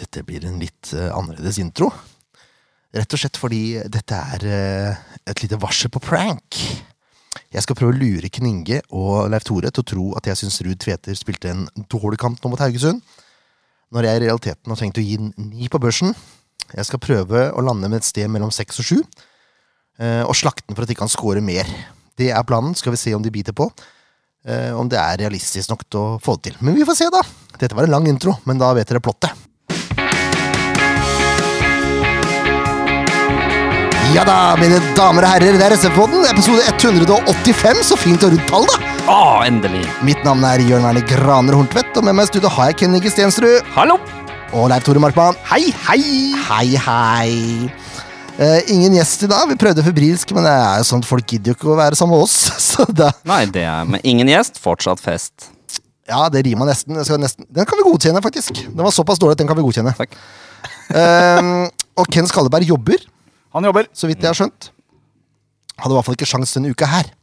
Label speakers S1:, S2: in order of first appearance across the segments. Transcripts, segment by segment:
S1: dette blir en litt eh, annerledes intro. Rett og slett fordi dette er eh, et lite varsel på prank. Jeg skal prøve å lure Ken Inge og Leif Tore til å tro at jeg syns Ruud Tveter spilte en dårlig kamp nå mot Haugesund, når jeg i realiteten har tenkt å gi den ni på børsen. Jeg skal prøve å lande med et sted mellom seks og sju, eh, og slakte den for at ikke han scorer mer. Det er planen, skal vi se om de biter på. eh, Om det er realistisk nok til å få det til. Men vi får se, da! Dette var en lang intro, men da vet dere plottet. Ja da, mine damer og herrer, det er SF-podden, episode 185. Så fint og rundt tall, da!
S2: Å, endelig.
S1: Mitt navn er Jørn Werner Graner Horntvedt, og med meg i studio har jeg Ken Inge Stensrud
S2: Hallo!
S1: og Leif Tore Markmann.
S2: Hei, hei!
S1: Hei, hei. Eh, ingen gjest i dag. Vi prøvde febrilsk, men det er jo sånn at folk gidder jo ikke å være sammen med oss. Så da,
S2: Nei, det er med ingen gjest, fortsatt fest.
S1: ja, det rima nesten. Jeg skal nesten. Den kan vi godkjenne, faktisk. Den var såpass dårlig at den kan vi godkjenne.
S2: Takk.
S1: Eh, og Ken Skalleberg jobber,
S3: Han jobber.
S1: så vidt jeg har skjønt. Hadde i hvert fall ikke sjans denne uka her.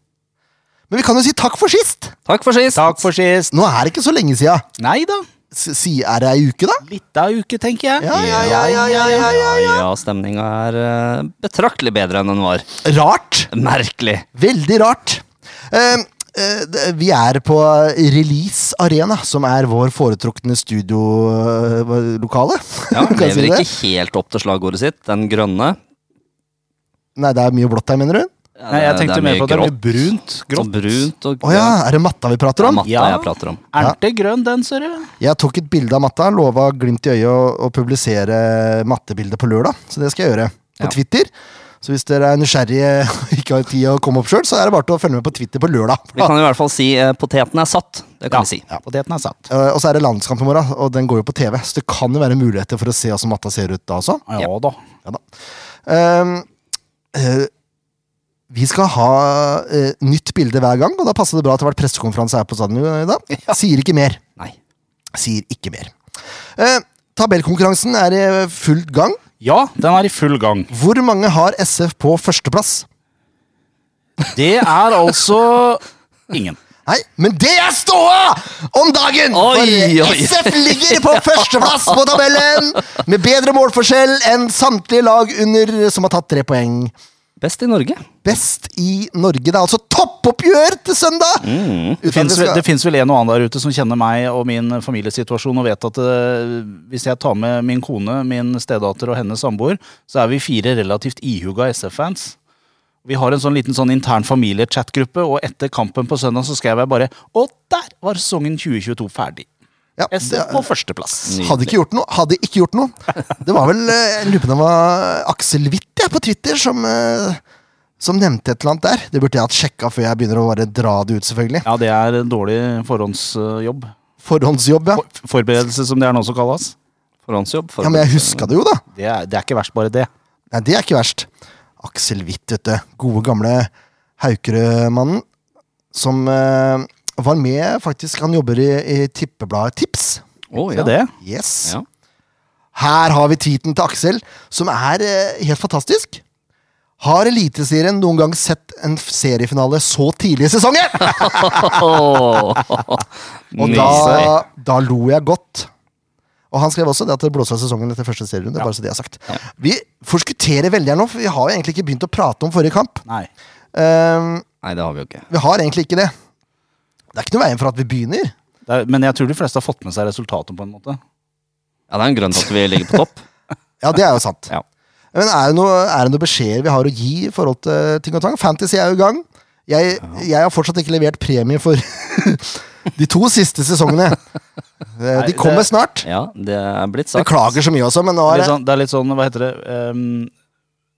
S1: Men vi kan jo si takk for sist!
S2: Takk for sist.
S3: Takk for sist.
S1: Nå er det ikke så lenge sia.
S3: Nei da.
S1: S- Si, er det ei uke, da?
S3: Litt av uke, tenker jeg.
S1: Ja, ja, ja, ja, ja, ja, ja.
S2: Ja, stemninga er eh, betraktelig bedre enn den var.
S1: Rart.
S2: Merkelig.
S1: Veldig rart. Eh, eh, d- vi er på Release Arena, som er vår foretrukne studiolokale.
S2: Ja, Lever ikke helt opp til slagordet sitt, den grønne.
S1: Nei, det er mye blått her, mener du?
S2: Ja,
S3: Nei, jeg
S2: det-
S3: tenkte
S2: det er
S3: mer på at det er mye
S2: grått
S3: brunt.
S2: og brunt og
S1: Å ja, er det matta vi prater
S2: Det er
S1: om?
S2: matta
S3: Ja.
S2: jeg prater om.
S1: Ja.
S3: Er det grønn, den, ser du?
S1: Jeg tok et bilde av matta, lova glimt i øyet å, å publisere mattebildet på lørdag. Så det skal jeg gjøre. På
S2: Ja.
S1: Twitter. Så hvis dere er nysgjerrige og ikke har tid å komme opp sjøl, så er det bare til å følge med på Twitter på lørdag.
S3: Ah.
S2: Vi kan i hvert fall si eh, poteten er satt. Det kan vi si.
S3: Poteten er satt.
S1: Eh, og så er det landskamp i morgen, og den går jo på TV. Så det kan jo være muligheter for å se hvordan matta ser ut da også.
S3: Ja da.
S1: Ja da. Ehm, eh, vi skal ha eh, nytt bilde hver gang, og da passer det bra at det har vært pressekonferanse her på stadion i dag. Sier ikke mer.
S2: Nei.
S1: Sier ikke mer. Eh, tabellkonkurransen er i fullt gang.
S3: Ja, den er i full gang.
S1: Hvor mange har SF på førsteplass?
S3: Det er altså ingen.
S1: Nei, men det er ståa om dagen!
S2: Oi,
S1: for
S2: oi.
S1: SF ligger på førsteplass på tabellen! Med bedre målforskjell enn samtlige lag under som har tatt tre poeng.
S2: Best i Norge.
S1: Best i Norge. Det er altså toppoppgjør til søndag!
S3: Mm.
S1: Uten at
S3: Det
S1: vi
S3: fins vel,
S1: skal-
S3: det finnes vel en og annen der ute som kjenner meg og min familiesituasjon og vet at eh, hvis jeg tar med min kone, min stedater og hennes samboer, så er vi fire relativt ihuga SF-fans. Vi har en sånn liten sånn intern familiechat-gruppe, og etter kampen på søndag så skrev jeg bare Å, der var sesongen 2022 ferdig.
S1: Ja,
S3: SF på førsteplass.
S1: Hadde ikke gjort noe. Hadde ikke gjort noe. Det var vel eh, jeg lurer på om det var Aksel Witt jeg, på Twitter som, eh, som nevnte et eller annet der. Det burde jeg hatt sjekka før jeg begynner å bare dra det ut, selvfølgelig.
S3: Ja, det er en dårlig forhåndsjobb.
S1: Forhåndsjobb, ja.
S3: For- Forberedelse, som det er nå som kalles.
S2: Forhåndsjobb.
S1: ja. Men jeg huska det jo, da.
S3: Det er, det er ikke verst, bare det.
S1: Nei, det er ikke verst. Aksel Witt, vet du. Gode, gamle Haukerød-mannen. Som eh, var med, faktisk. Han jobber i, i tippebladet Tips.
S2: Å,
S3: Det
S2: ja.
S3: er det.
S1: Yes.
S2: Ja.
S1: Her har vi tweeten til Aksel, som er eh, helt fantastisk. Har Eliteserien noen gang sett en f- seriefinale så tidlig i sesongen? Og
S2: Nydelig.
S1: da, da lo jeg godt. Og han skrev også det at det blåser av sesongen etter første serierunde. bare så det er sagt. Vi forskutterer veldig her nå, for vi har jo egentlig ikke begynt å prate om forrige kamp.
S3: Nei.
S1: Ehm,
S2: Nei, det har vi jo ikke.
S1: vi har egentlig ikke det. Det er ikke noe veien for at vi begynner.
S3: Det er, men jeg tror de fleste har fått med seg resultatet, på en måte.
S2: Ja, Det er en grunn til at vi ligger på topp.
S1: Ja, det er jo sant.
S2: Ja.
S1: Men er det noen noe noen beskjeder vi har å gi i forhold til ting og tang? Fantasy er jo i gang. Jeg, jeg har fortsatt ikke levert premie for de to siste sesongene. Eh, De
S3: det-
S1: kommer snart.
S2: Ja, Det er blitt sagt.
S1: Beklager så mye også, men nå
S3: Det er
S1: er
S3: litt
S1: det
S3: sånn, det er litt sånn hva heter det Ehm,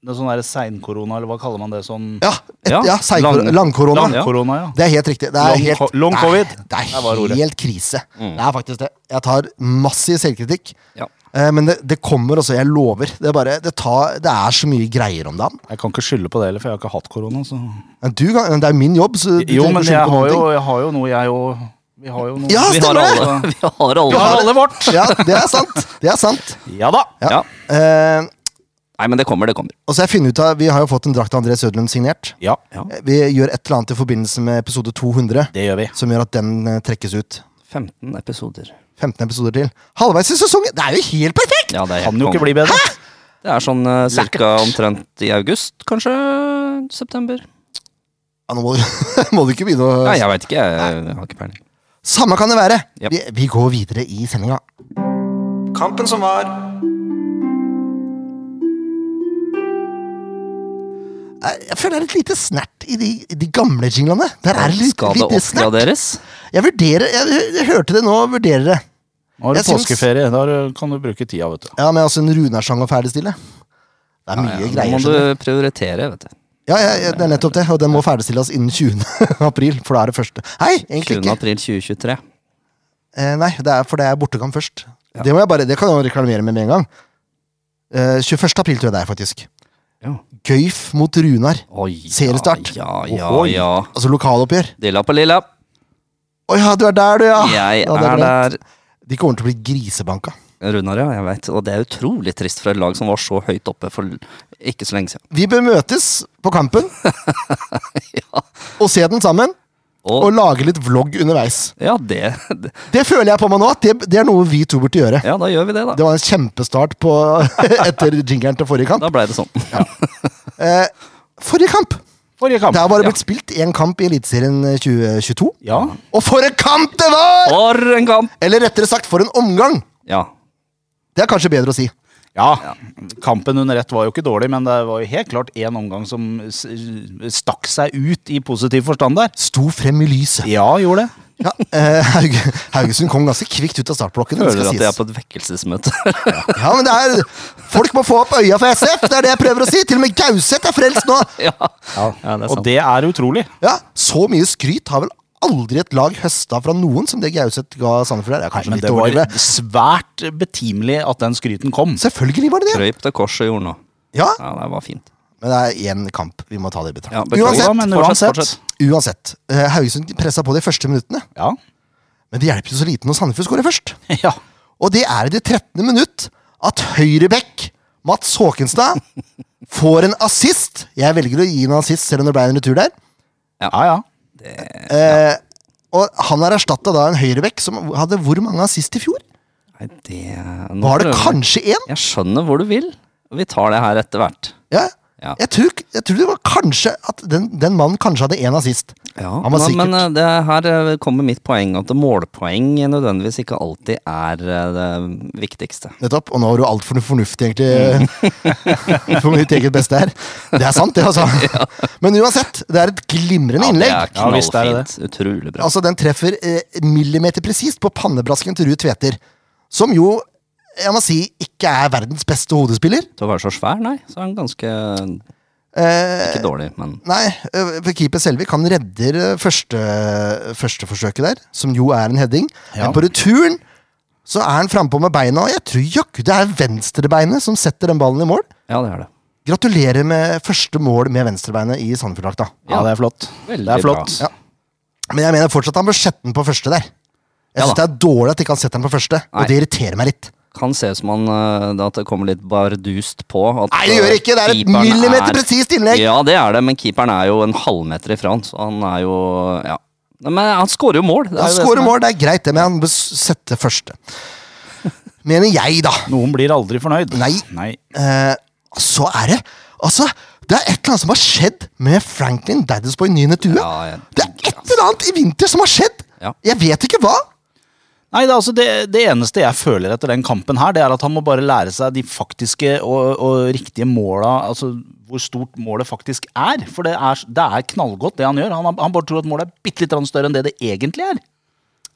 S3: Det er sånn der seinkorona, eller hva kaller man det? Sånn
S1: Ja, et,
S2: Ja,
S1: ja seigkor-
S2: lang-
S1: langkorona.
S2: lang-
S3: korona, ja.
S1: Det er helt riktig. Det er
S3: Long
S1: helt,
S3: co- long covid.
S1: Det er,
S3: Der var ordet. Mm.
S1: helt krise. Det er faktisk det. Jeg tar massiv selvkritikk.
S2: Ja.
S1: Eh, Men det, det kommer også, jeg lover. Det er, bare, det, tar, det er så mye greier om dagen.
S3: Jeg kan ikke skylde på det heller, for jeg har ikke hatt korona. Så.
S1: Men Du, kan- det er min jobb, så du trenger ikke
S3: Jo,
S1: å
S3: men
S1: skylde
S3: jeg
S1: på noen
S3: har jo,
S1: ting.
S3: jeg har jo noe, jeg òg. Vi har jo noe.
S1: Ja,
S2: Vi har
S1: stemmer det!
S2: alle. Vi har alle.
S3: Vi har alle vårt!
S1: Ja, det er sant. Det er sant.
S3: Ja da!
S1: Ja.
S2: Ja.
S1: Eh,
S2: Nei, men det kommer, det kommer.
S1: og så har jeg funnet ut av, Vi har jo fått en drakt av André Søderlund signert.
S3: Ja,
S1: Eh, Vi gjør et eller annet i forbindelse med episode 200
S3: det gjør vi.
S1: som gjør at den eh, trekkes ut.
S2: 15 episoder.
S1: 15 episoder til. Halvveis i sesongen! Det er jo helt perfekt!
S2: Ja, det er
S3: Kan
S2: helt
S3: jo ikke
S2: konge.
S3: bli bedre.
S2: Det er sånn eh, cirka omtrent i august, kanskje? September?
S1: Ja, nå må du, må du ikke begynne å
S2: Nei, jeg veit ikke. Jeg, jeg har ikke peiling.
S1: Samme kan det være!
S2: Yep.
S1: Vi, vi går videre i sendinga.
S4: Kampen som var.
S1: Jeg jeg føler det er et lite snert i de, i de gamle jinglene. Der er det litt,
S2: Skal det
S1: lite snert.
S2: oppgraderes?
S1: Jeg vurderer jeg, jeg hørte det nå og vurderer det.
S3: Nå har
S1: Jeg
S3: du
S1: syns-
S3: påskeferie. Da har du- kan du bruke tida, vet du.
S1: Ja, men altså en Runar-sang å ferdigstille. Det er mye
S2: Ja, nå
S1: greier.
S2: må
S1: skjønner du.
S2: du prioritere, vet du.
S1: Ja, ja, ja, det er nettopp det, og den må ferdigstilles innen 20. april, for da er det første. Hei, egentlig
S2: 20.
S1: ikke.
S2: april 2023.
S1: Eh, nei, det er, for det er bortekamp først. Det, må jeg bare, det kan jeg jo reklamere med med en gang. Eh, 21. april tror jeg det er, faktisk.
S2: Ja.
S1: Gøyf mot Runar.
S2: Oi,
S1: Seriestart.
S2: Ja, ja,
S1: Ohoi.
S2: ja.
S1: Altså lokaloppgjør.
S2: Dilla på lilla.
S1: Å ja, du er der, du, ja!
S2: Jeg
S1: Ah, Ja, det
S2: er
S1: glemt.
S2: der.
S1: De kommer til å bli grisebanka.
S2: Runar, ja. Jeg vet. Og det er utrolig trist for et lag som var så høyt oppe for l- ikke så lenge siden.
S1: Vi bør møtes på kampen og se den sammen, og
S2: Og
S1: lage litt vlogg underveis.
S2: ja, det, det
S1: Det føler jeg på meg nå, at det, det er noe vi to burde gjøre.
S2: Ja, da gjør vi det, da.
S1: Det var en kjempestart på, etter jingeren til forrige kamp.
S2: Da blei det sånn.
S1: Eh, forrige kamp!
S3: Forrige kamp.
S1: Det har bare
S2: Ja.
S1: blitt spilt én kamp i Eliteserien 2022.
S3: Ja.
S1: Og for en kamp det var!
S2: For en kamp!
S1: Eller rettere sagt, for en omgang!
S2: Ja.
S1: Det er kanskje bedre å si.
S3: ja. Kampen under ett var jo ikke dårlig, men det var jo helt klart én omgang som s- stakk seg ut i positiv forstand der.
S1: Sto frem i lyset.
S3: Ja, gjorde det.
S1: Ja, eh, Haug Haugesund kom ganske kvikt ut av startblokken. det
S2: Føler
S1: skal
S2: at jeg er
S1: sies.
S2: på et vekkelsesmøte.
S1: Ja, men det er, Folk må få opp øya for SF! Det er det jeg prøver å si! Til og med Gauseth er frelst nå!
S2: ja. ja, det er
S3: Og
S2: sant.
S3: det er utrolig.
S1: Ja, Så mye skryt har vel aldri et lag høsta fra noen som det Gauseth ga Sandefjord her. Det er kanskje
S3: Men
S1: litt
S3: det var
S1: overdrevet.
S3: svært betimelig at den skryten kom.
S1: Selvfølgelig var det det!
S2: Krøyp til korset gjorde nå.
S1: Ja,
S2: Ja, det var fint.
S1: Men det er én kamp. Vi må ta det i
S2: Ja,
S1: betraktning.
S2: beklager.
S3: Ja,
S1: uansett,
S3: men
S2: Fortsett,
S3: uansett.
S1: uansett eh, Haugesund pressa på de første minuttene.
S3: Ja.
S1: Men det hjelper jo så lite når Sandefjord skårer først.
S3: ja.
S1: Og det er i det 13. minutt at høyrebekk Mats Håkenstad får en assist. Jeg velger å gi en assist, selv om det ble en retur der.
S3: Ja, ja.
S1: Eh, og han er erstatta av en høyrebekk som hadde hvor mange assist i fjor?
S2: Nei, det nå
S1: Var det
S2: prøver vi.
S1: kanskje én?
S2: Jeg skjønner hvor du vil. Vi tar det her etter hvert.
S1: Ja.
S2: Ja.
S1: Jeg, tror, jeg tror det var kanskje at den, den mannen kanskje hadde én assist.
S2: Ja,
S1: Han var
S2: men,
S1: sikkert-
S2: men eh, det her eh, kommer mitt poeng, at målpoeng nødvendigvis ikke alltid er eh, det viktigste.
S1: Nettopp. Og nå var du altfor fornuftig, egentlig.
S2: Mm.
S1: For mitt eget beste her. Det er sant, det, altså. Men uansett, det er et glimrende
S2: Ja, det
S1: innlegg.
S2: er
S3: Ja, visst er det
S2: knallfint. Utrolig bra.
S1: Altså, den treffer eh, millimeterpresist på pannebrasken til Ruud Tveter. Som jo, jeg må si, ikke er verdens beste hodespiller.
S2: Til å være så svær, nei, så er han ganske Ikke
S1: Eh,
S2: dårlig, men
S1: nei, eh, for keeper Selvik han redder eh, første, første forsøket der, som jo er en heading.
S3: Ja.
S1: Men på returen så er han frampå med beina, og jeg tror jaggu det er venstrebeinet som setter den ballen i mål.
S2: Ja, det er det.
S1: Gratulerer med første mål med venstrebeinet i Sandefjord-drakta.
S3: Ja, det er flott.
S2: Veldig
S3: det er flott.
S2: bra.
S1: Men jeg mener fortsatt han bør sette den på første der. Jeg
S2: Ja
S1: synes
S2: da.
S1: Det er dårlig at ikke han setter den på første,
S2: Nei.
S1: og det irriterer meg litt.
S2: Kan se ut som han, eh, at det kommer litt bardust på. At, eh,
S1: Nei, det gjør ikke! Det er et
S2: keeperen
S1: millimeter
S2: er-
S1: presist innlegg!
S2: Ja, det er det, men keeperen er jo en halvmeter ifra han, så han er jo Ja. Nei, Men han skårer jo mål. det er
S1: Han
S2: jo det
S1: skårer
S2: som er-
S1: mål, det er greit, det, men han bør sette første. Mener jeg, da.
S3: Noen blir aldri fornøyd.
S1: Nei.
S3: Nei.
S1: Eh, så er det Altså, det er et eller annet som har skjedd med Franklin Daddisboy Nyne Tue.
S2: Ja, jeg-
S1: det er et eller annet i vinter som har skjedd!
S2: Ja.
S1: Jeg vet ikke hva.
S3: Nei, det, er altså det, det eneste jeg føler etter den kampen her, det er at han må bare lære seg de faktiske og, og riktige måla, altså hvor stort målet faktisk er. For det er, det er knallgodt, det han gjør. Han, han bare tror at målet er bitte litt større enn det det egentlig er.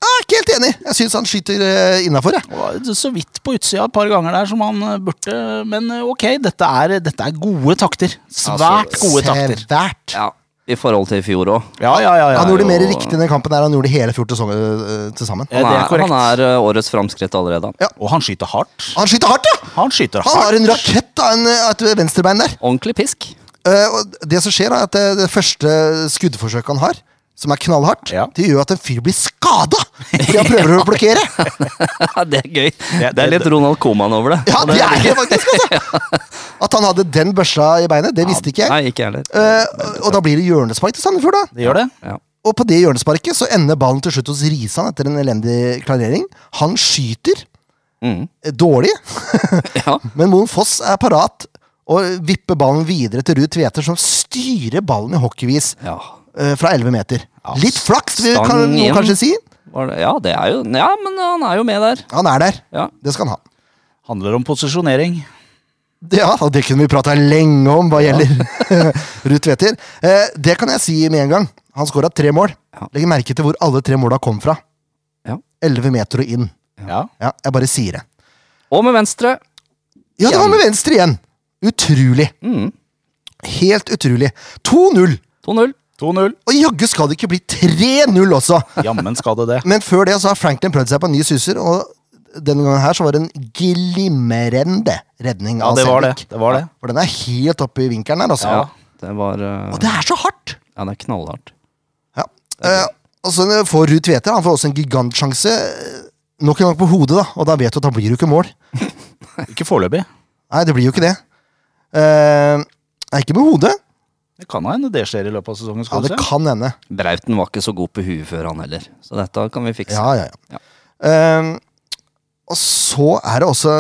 S1: Jeg er ikke helt enig. Jeg syns han skyter uh, innafor.
S3: Det var Så vidt på utsida et par ganger der som han eh, burde, men eh, ok, dette er, dette er gode takter. Svært
S1: Altså,
S3: gode takter.
S1: Svært.
S2: Ja, I forhold til i fjor òg.
S3: Ja, ja, ja. ja.
S1: Han gjorde
S2: jo-
S1: mer riktig denne kampen her, han gjorde hele fjor til sånn, eh, til sammen.
S3: Ja,
S2: Han,
S3: det er
S2: er-
S3: korrekt.
S2: han er eh, årets framskritt allerede. han.
S1: Ja.
S3: Og han skyter hardt.
S1: Han skyter hardt, ja!
S3: Han skyter
S1: Han
S3: hardt.
S1: har en rakett av en, av et venstrebein der.
S2: Ordentlig pisk.
S1: Eh, og det som skjer, er at det, det første skuddforsøket han har, som er knallhardt,
S3: Ja.
S1: det gjør at en fyr blir skada fordi han prøver å blokkere!
S2: det er gøy.
S3: det-
S2: Det er litt Ronald Koman over det.
S1: Ja,
S2: Og
S1: det er det faktisk, altså! At han hadde den børsa i beinet, det visste ikke jeg.
S2: Nei, ikke jeg heller.
S1: Eh, og da blir det hjørnespark til Sandefjord, da.
S3: Det gjør det.
S2: Ja.
S1: Og på det hjørnesparket så ender ballen til slutt hos Risan etter en elendig klarering. Han skyter
S2: Mm.
S1: eh, dårlig,
S2: Ja.
S1: men Moen Foss er parat og vipper ballen videre til Ruud Tveter, som styrer ballen i hockeyvis
S2: ja.
S1: eh, fra 11 meter. Litt flaks, vil- kan
S2: stang
S1: noen
S2: igjen.
S1: kanskje si.
S2: Var det, ja, det er jo Ja, men han er jo med der.
S1: Han er der.
S2: Ja.
S1: Det skal han ha.
S3: Handler om posisjonering.
S1: Ja, og det kunne vi prata lenge om hva gjelder Ruud Tveter. Eh, det kan jeg si med en gang. Han skåra tre mål.
S2: Ja.
S1: Legg merke til hvor alle tre måla kom fra.
S2: Ja.
S1: Elleve meter og inn.
S3: Ja.
S1: Ja, jeg bare sier det.
S2: Og med venstre.
S1: Ja, det var med venstre igjen! Utrolig.
S2: Mm.
S1: Helt utrolig. 2-0.
S2: 2-0.
S3: 2-0.
S1: Og jaggu skal det ikke bli 3-0 også!
S3: Jammen skal det det.
S1: Men før det så har Franklin prøvd seg på en ny suser, og denne gangen her så var det en glimrende redning
S3: Ja,
S1: av
S3: det var det.
S1: Selvik.
S3: det, var det.
S1: For den er helt oppe i vinkelen her, altså.
S2: Ja, det var eh,
S1: Og det er så hardt!
S2: Ja, det er knallhardt.
S1: Ja. Eh, og så får Ruud Tveter han får også en gigantsjanse. eh, Nok en gang på hodet, da. Og da vet du at han blir jo ikke mål.
S3: Ikke foreløpig.
S1: Nei, det blir jo ikke det. Eh, nei, ikke med hodet.
S3: Det kan hende det skjer i løpet av
S1: Ja,
S3: sesongen. skal
S1: det
S3: du se.
S1: kan hende.
S2: Brauten var ikke så god på huet før, han heller. Så dette kan vi fikse.
S1: Ja, ja, ja. Eh, og så er det også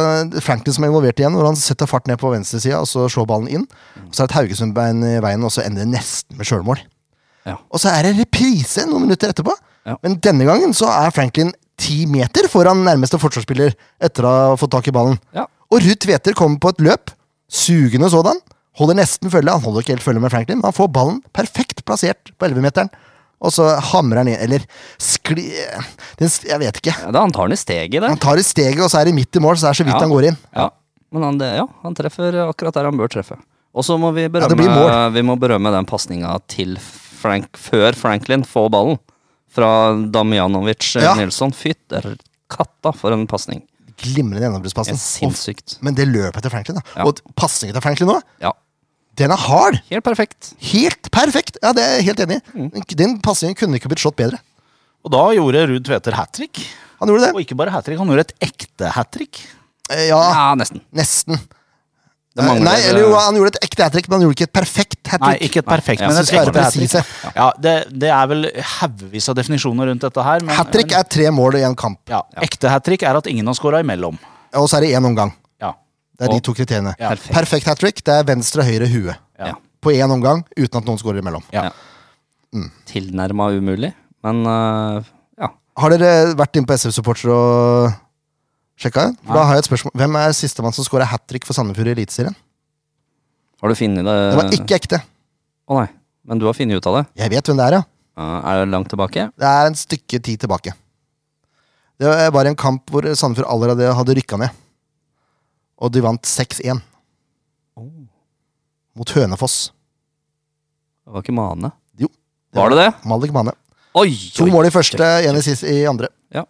S1: Franklin som er involvert igjen, når han setter fart ned på venstresida og så slår ballen inn.
S2: Mm.
S1: Og så er det et Haugesund-bein i veien, og så ender det nesten med sjølmål.
S2: Ja.
S1: Og så er det reprise noen minutter etterpå,
S2: Ja.
S1: men denne gangen så er Franklin ti meter foran nærmeste forsvarsspiller etter å ha fått tak i ballen.
S2: Ja.
S1: Og Ruud Tveter kommer på et løp, sugende sådan. Holder nesten følge. Han holder ikke helt følge med Franklin, men han får ballen perfekt plassert på 11-meteren. Og så hamrer han inn, eller skli... Den, s- jeg vet ikke.
S2: Ja, da han tar den i steget der.
S1: Han tar i steget, og så er det midt i mål, så det er så vidt
S2: Ja.
S1: han går inn.
S2: Ja. Men han, det- ja, han treffer akkurat der han bør treffe. Og så må
S1: Ja,
S2: vi
S1: det
S2: berømme,
S1: blir mål.
S2: vi må berømme den pasninga til Frank før Franklin får ballen. Fra Damjanovic
S1: Ja.
S2: ja. Nilsson. Fytter katta for en pasning.
S1: Glimrende gjennombruddspassen.
S2: Sinnssykt.
S1: Men det løpet til Franklin, da.
S2: Ja.
S1: Og pasningen til Franklin nå,
S2: Ja.
S1: den er hard!
S2: Helt perfekt.
S1: Helt perfekt! Ja, det er jeg helt enig
S2: Mm.
S1: i. Den pasningen kunne ikke blitt slått bedre.
S3: Og da gjorde Ruud Tveter hat trick.
S1: Han gjorde
S3: Og
S1: det.
S3: ikke bare hat trick, han gjorde et ekte hat trick.
S1: Eh, Ja,
S2: Ja, nesten.
S1: nesten. Eh,
S2: Det mangler-
S1: Nei, eller jo, han gjorde et ekte hat trick, men han gjorde ikke et perfekt hat
S3: Nei,
S1: trick.
S3: ikke et perfekt,
S2: Nei,
S3: men
S2: jeg
S3: et
S1: synes det er
S3: ekte hat trick.
S1: presise.
S3: Ja, det, det er vel haugevis av definisjoner rundt dette her. men-
S1: Hat trick
S3: men-
S1: er tre mål i en kamp,
S3: ja, Ekte hat trick er at ingen har scora imellom.
S1: og så er det én omgang.
S3: Ja.
S1: Det er de
S2: Og-
S1: to kriteriene.
S3: Ja.
S2: Perfekt.
S1: Perfekt hat trick det er venstre og høyre hue.
S3: Ja.
S2: Ja.
S1: På én omgang, uten at noen scorer imellom.
S2: Tilnærma umulig. Men øh, ja.
S1: Har dere vært inne på SF Supporter og sjekka? For Da har jeg et spørsmål. Hvem er sistemann som scorer hat trick for Sandefjord i Eliteserien?
S2: Har du funnet det?
S3: Eh.
S1: Det var ikke ekte.
S2: Å nei. Men du har funnet ut av det?
S1: Jeg vet hvem det er, ja.
S2: Ja, er det langt tilbake?
S1: Det er en stykke tid tilbake. Det var en kamp hvor Sandefjord allerede hadde rykka ned. Og de vant 6-1
S3: Oh.
S1: mot Hønefoss.
S2: Det var ikke Mane.
S1: Jo.
S2: Var det det?
S1: Malik Mane.
S2: Oi!
S1: To
S2: oi.
S1: mål i første, én i, sist- i andre.
S2: Ja.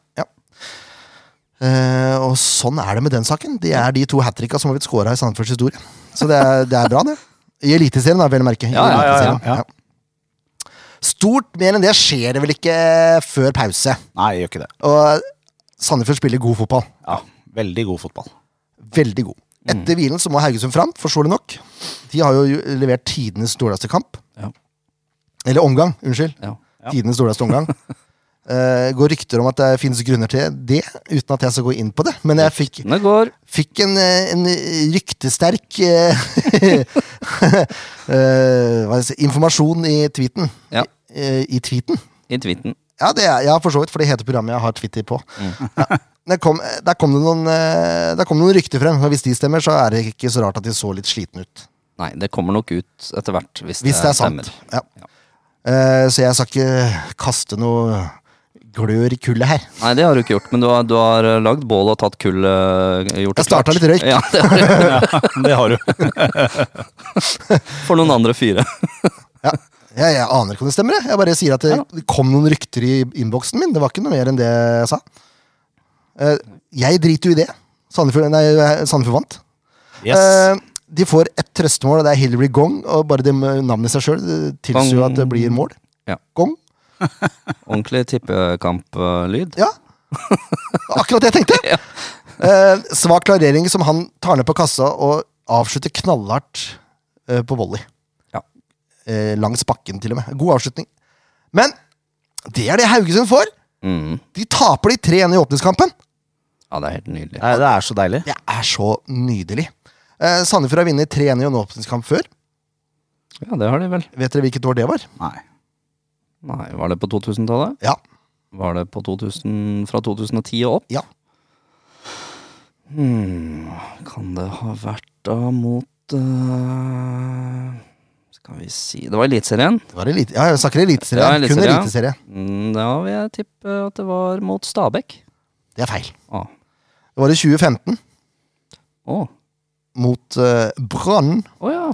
S1: Eh, og sånn er det med den saken. Det er de to hat tricka som har blitt scora i Sandefjords historie. Så det er, det er bra, det. I Eliteserien, da, vel å merke. I
S2: Ja, ja, ja,
S3: ja,
S1: Eliteserien, ja. Stort mer enn det skjer det vel ikke før pause.
S3: Nei, jeg gjør ikke det.
S1: Og Sandefjord spiller god fotball.
S3: Ja, Veldig god fotball.
S1: Veldig god.
S2: Mm.
S1: Etter hvilen så må Haugesund fram, forståelig nok. De har jo levert tidenes dårligste kamp.
S2: Ja.
S1: Eller omgang, unnskyld.
S2: Ja.
S1: Tidenes dårligste omgang. Eh, går rykter om at det finnes grunner til det, uten at jeg skal gå inn på det. Men jeg fikk,
S2: Det går.
S1: fikk en, eh, en ryktesterk eh, eh, hva skal jeg si, informasjon i tweeten.
S2: Ja.
S1: Eh, I tweeten?
S2: I tweeten.
S1: Ja, det er, ja, for så vidt, for det heter programmet jeg har Twitter på.
S2: Mm.
S1: Ja. Der, kom, der, kom det noen, eh, der kom det noen rykter frem, og hvis de stemmer, så er det ikke så rart at de så litt slitne ut.
S2: Nei, det kommer nok ut etter hvert, hvis,
S1: Hvis det er sant.
S2: stemmer.
S1: Ja. Eh, så jeg skal ikke kaste noe glør i kullet her.
S2: Nei, det har du ikke gjort, men du har, du har eh, lagd bål og tatt kull. eh, Gjort det
S1: Jeg starta
S2: klart.
S1: litt røyk.
S2: Ja, det har du.
S3: Det har du.
S2: For noen andre fire.
S1: Ja. Jeg, jeg aner ikke om det stemmer. Jeg, jeg bare sier at det det kom noen rykter i innboksen min. Det var ikke noe mer enn det jeg sa. Eh, jeg driter jo i det. Sandefjord, nei, Sandefjord vant.
S3: Yes.
S1: Eh, de får ett trøstemål, og det er Hillary Gong. Og bare det med navnet i seg sjøl tilsier jo
S2: Gong.
S1: at det blir mål.
S2: Ja.
S1: Gong.
S2: Ordentlig eh, tippekamplyd.
S1: Ja. Akkurat det jeg tenkte! Eh,
S2: Ja.
S1: svak klarering som han tar ned på kassa og avslutter knallhardt eh, på volley.
S2: Ja.
S1: Eh, langs bakken, til og med. God avslutning. Men Det er det Haugesund får!
S2: Mm.
S1: De taper de 3-1 i åpningskampen.
S2: Ja, det er helt nydelig.
S3: Nei, det er så deilig.
S1: Det er så nydelig. Eh, Sandefjord har vunnet 3-1 i en åpningskamp før.
S2: Ja, det har de vel.
S1: Vet dere hvilket år det var?
S3: Nei.
S2: Nei, var det på 2000-tallet?
S1: Ja.
S2: Var det på 2000, fra 2010 og opp?
S1: Ja.
S2: Hmm, kan det ha vært da mot eh, Skal vi si Det var Eliteserien.
S1: Det var elite. Ja, jeg snakker eliteserie. Kun
S2: Ja, eliteserie, ja.
S1: eliteserie.
S2: Mm, da vil jeg tippe at det var mot Stabæk.
S1: Det er feil.
S2: Å,
S1: Det var i 2015
S2: å,
S1: mot eh, Brann.
S2: å ja.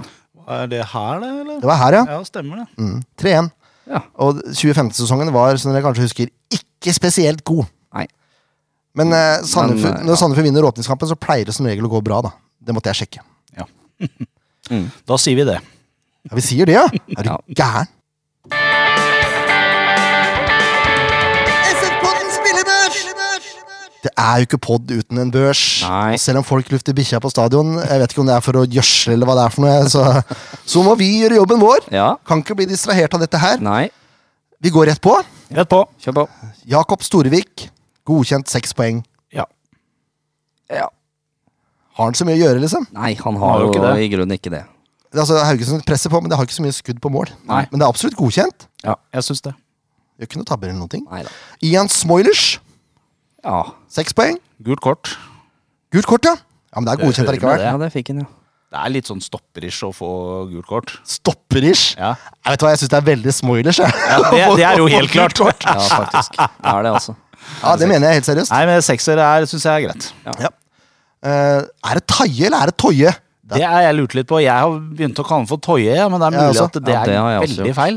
S3: Er det her, det, eller?
S1: Det var her, ja.
S3: Ja, stemmer det.
S1: Mm. 3-1.
S2: ja.
S1: Og 2015-sesongen var, som dere kanskje husker, ikke spesielt god.
S2: Nei.
S1: Men eh, Sandefjord,
S2: Men, eh, ja.
S1: når Sandefjord vinner åpningskampen, så pleier det som regel å gå bra, da. Det måtte jeg sjekke.
S3: Da sier vi det.
S1: Ja, Vi sier det, ja! Er du
S2: Ja.
S1: gæren? Det er jo ikke pod uten en børs.
S2: Nei.
S1: Og Selv om folk lufter bikkja på stadion, jeg vet ikke om det er for å gjødsle eller hva det er for noe, så, så må vi gjøre jobben vår.
S2: Ja.
S1: Kan ikke bli distrahert av dette her.
S2: Nei.
S1: Vi går rett på.
S3: Rett på.
S2: Kjør på.
S1: Jakob Storevik, godkjent seks poeng.
S3: Ja.
S2: Ja.
S1: Har han så mye å gjøre, liksom?
S2: Nei, han
S3: Har
S2: har
S3: jo
S2: jo
S3: ikke det.
S2: i grunnen ikke
S1: Det
S2: det.
S1: er Altså, Haugesund presser på, men det har ikke så mye skudd på mål.
S2: Nei.
S1: Men det er absolutt godkjent.
S3: Ja, jeg syns det.
S1: Gjør ikke noe tabber eller noen ting.
S2: Nei da.
S1: Ian Smoilers,
S2: Ja.
S1: seks poeng.
S3: Gult kort.
S1: Gult kort, ja. Ja, men det er godkjent
S3: hører med
S1: allikevel.
S3: det.
S2: ja, det fikk han, ja.
S3: Det er litt sånn stopperish å få gult kort.
S1: Stopperish.
S3: Ja.
S1: Jeg vet hva, jeg syns det er veldig Smoilers. jeg.
S3: det, det er jo helt klart.
S2: Ja, faktisk. Det er det, altså.
S1: Ja, det mener jeg helt seriøst.
S3: Nei, men sekser er, syns jeg er greit.
S1: Ja. Eh, er det Taie eller er det Toje?
S3: Det er jeg lurt litt på. Jeg har begynt å kalle den for Toye, ja, men det er
S1: Jeg
S3: mulig
S1: også.
S3: at det
S2: Ja, det
S3: er
S2: har jeg også
S3: veldig
S2: gjort.
S3: feil.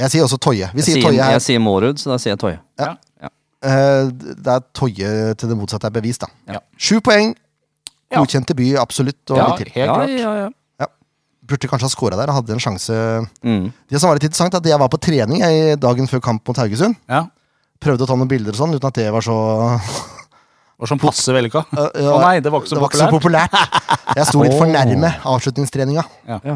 S1: Jeg sier også Toje. Vi sier
S2: Jeg sier,
S1: Toje her.
S2: jeg sier Mårud, så da sier jeg Toje.
S3: Ja.
S1: Eh, det er Toje til det motsatte er bevist, da.
S3: Ja.
S1: Sju poeng.
S3: Ja.
S1: Godkjent debut, absolutt. Og
S3: Ja,
S1: litt til.
S3: helt
S2: ja,
S3: klart.
S2: ja, ja.
S1: Burde kanskje ha scora der. Hadde en sjanse.
S2: Mm.
S1: Det som var litt interessant, er at jeg var på trening jeg, dagen før kamp mot Haugesund.
S3: Ja.
S1: Prøvde å ta noen bilder og sånn, uten at det var så
S3: Og som passer vellykka. Å
S1: ja.
S3: nei, det var
S1: Øh,
S3: ikke
S1: Det
S3: så
S1: var ikke så
S3: populært.
S1: populært. Jeg sto litt for
S2: Åh.
S1: nærme avslutningstreninga.
S2: Ja.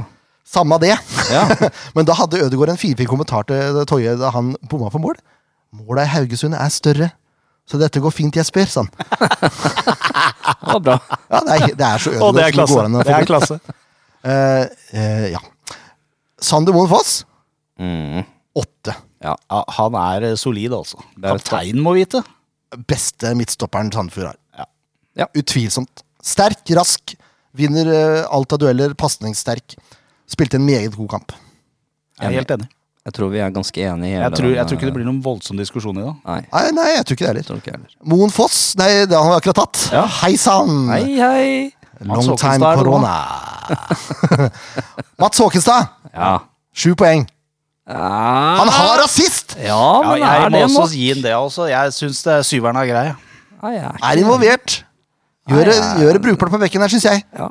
S1: Samme det.
S2: Ja.
S1: Men da hadde Ødegaard en finfin kommentar til eh, Toje da han bomma på mål. Måla i Haugesund er større, så dette går fint, Jesper, sa han.
S2: Det var bra.
S1: Ja, det, er, det er så
S3: Å,
S1: Ødegaard
S3: det
S1: som det går
S3: er klasse.
S1: an å
S3: Det
S1: få
S3: er
S1: til.
S3: klasse.
S1: Eh, eh, ja. Sander Moen Foss,
S2: Mm.
S1: åtte.
S3: Ja, han er eh, solid, altså.
S2: Det er et
S3: Kapteinen må vite.
S1: Beste midtstopperen Sandefjord har.
S3: Ja.
S2: Ja.
S1: Utvilsomt. Sterk, rask, vinner eh, alt av dueller, pasningssterk. Spilte en meget god kamp.
S3: Jeg er helt enig.
S2: Jeg tror vi er ganske enige. i hele
S3: Jeg tror, jeg
S2: den,
S3: tror ikke det
S2: eh,
S3: blir noen voldsom diskusjon i dag.
S2: Nei, jeg
S1: Nei, nei, jeg tror ikke det heller.
S2: tror ikke jeg heller.
S1: Moen Foss, nei, det har han akkurat tatt.
S3: Ja.
S1: Hei sann!
S2: Hei, hei!
S3: Mats
S1: Long
S3: Håkenstad
S1: time
S3: er det
S1: corona. Mats Håkenstad,
S2: Ja.
S1: sju poeng. Han har rasist!
S2: Ja, men
S3: Ja, jeg
S2: er
S3: må
S2: det
S3: også
S2: nok?
S3: gi den det, altså. Jeg syns syveren er grei.
S2: Nei, jeg er
S1: Er involvert. Gjør det, gjør det brukbart på bekken her, syns jeg.
S2: Ja.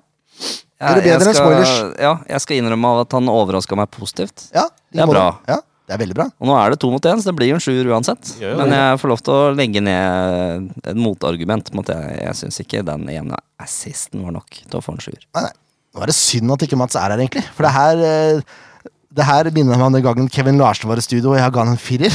S1: Er det bedre
S2: Jeg- jeg
S1: enn
S2: skal-
S1: spoilers?
S2: Ja, jeg skal innrømme at han overraska meg positivt.
S1: Ja, i
S2: Det er
S1: måte.
S2: bra.
S1: Ja, det er veldig bra.
S2: Og nå er det to mot én, så det blir jo en sjuer uansett.
S3: Gjør jo
S2: Men
S3: det.
S2: jeg får lov til å legge ned et motargument om at jeg, jeg syns ikke den ene assisten var nok til å få en sjuer.
S1: Nei, nei. Nå er det synd at ikke Mats er her, egentlig. For det her eh, Det her minner meg om den gangen Kevin Larsen var i studio, og jeg ga han en firer.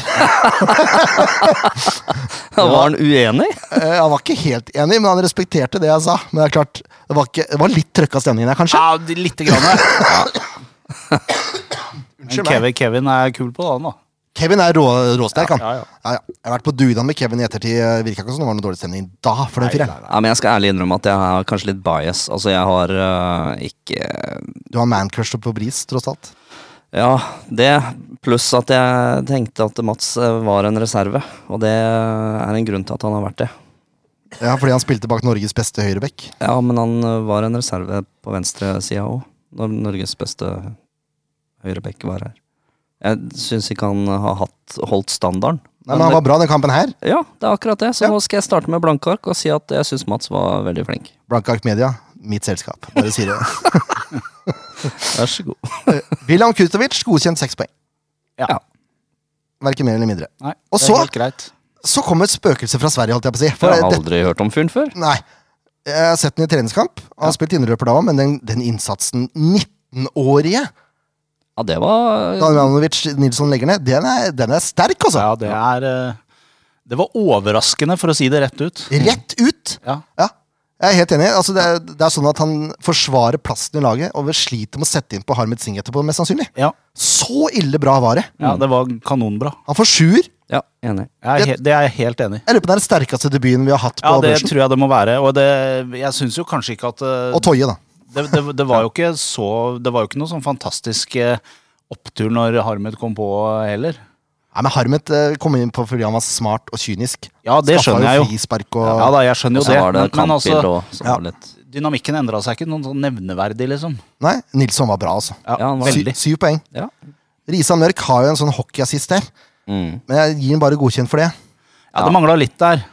S2: Var han uenig?
S1: Eh, han var ikke helt enig, men han respekterte det jeg sa. Men det er klart, det var, ikke, det var litt trøkk av stemningen her, kanskje.
S3: Ja, lite grann. Men
S1: meg.
S3: Kevin, Kevin er kul på den, da.
S1: Kevin er rå, råsterk, han.
S3: Ja, ja, ja.
S1: Jeg har vært på dugnad med Kevin i ettertid. Virka ikke som det var noe dårlig stemning da for den fireren.
S2: Ja, men Jeg skal ærlig innrømme at jeg har kanskje litt bias. Altså, jeg har øh, ikke
S1: Du har mancrush på Bris, tross alt.
S2: Ja, det pluss at jeg tenkte at Mats eh, var en reserve. Og det er en grunn til at han har vært det.
S1: Ja, fordi han spilte bak Norges beste høyrebekk.
S2: Ja, men han eh, var en reserve på venstresida òg, når Norges beste høyrebekk var her. Jeg syns ikke han har hatt, holdt standarden.
S1: Nei, men han var bra den kampen her.
S2: det, ja, det er akkurat det. Så
S1: Ja.
S2: nå skal jeg starte med blanke ark og si at jeg syns Mats var veldig flink.
S1: Blanke Ark Media, mitt selskap. Bare sier det.
S2: Vær så god.
S1: William Kurtovic, godkjent seks poeng.
S3: Ja.
S1: Verken mer eller mindre.
S3: Nei,
S1: Og
S3: det er
S1: så-
S3: helt greit.
S1: Så kom et spøkelse fra Sverige, holdt jeg på å si. For
S2: Jeg har
S1: det,
S2: aldri hørt om fyren før.
S1: nei, jeg har sett den i treningskamp. Han har spilt indreløper da òg, men den, den innsatsen 19-årige
S2: Ja, det var
S1: Danjanovic Nilsson legger ned, den er, den er sterk, altså.
S3: Ja, det er eh, Det var overraskende, for å si det rett ut.
S1: Rett ut!
S3: Ja.
S1: Ja, jeg er helt enig. Altså, det, er, det er sånn at han forsvarer plassen i laget og sliter med å sette inn på Harmet Singh etterpå, mest sannsynlig.
S3: Ja,
S1: Så ille bra var det!
S3: ja det var kanonbra.
S1: Han får sjuer.
S2: Ja, enig.
S3: Jeg er he det er jeg helt enig i.
S1: Jeg lurer på om det er den sterkeste debuten vi har hatt på
S3: Ja, det
S1: børsen.
S3: tror jeg det må være. Og det, jeg syns jo kanskje ikke at eh,
S1: Og Toje, da.
S3: det, det, det var jo ikke så Det var jo ikke noe sånn fantastisk eh, opptur når Harmed kom på eh, heller.
S1: Nei, men Harmet eh, kom inn på fordi han var smart og kynisk.
S3: Ja, det
S1: Skaffa
S3: skjønner jeg jo.
S1: Frispark og...
S3: Ja da, jeg
S2: Og
S3: skjønner jo
S2: så
S3: det.
S2: var det
S3: men- men altså,
S2: kampbilder og så var det litt
S3: dynamikken endra seg ikke noe sånn nevneverdig, liksom.
S1: Nei, Nilsson var bra, altså.
S2: Ja, han var
S1: Sy,
S3: veldig.
S1: syv poeng.
S2: Ja.
S1: Risan Mørk har jo en sånn hockeyassist der,
S2: Mm.
S1: men jeg gir ham bare godkjent for det.
S3: Ja, det mangla litt der.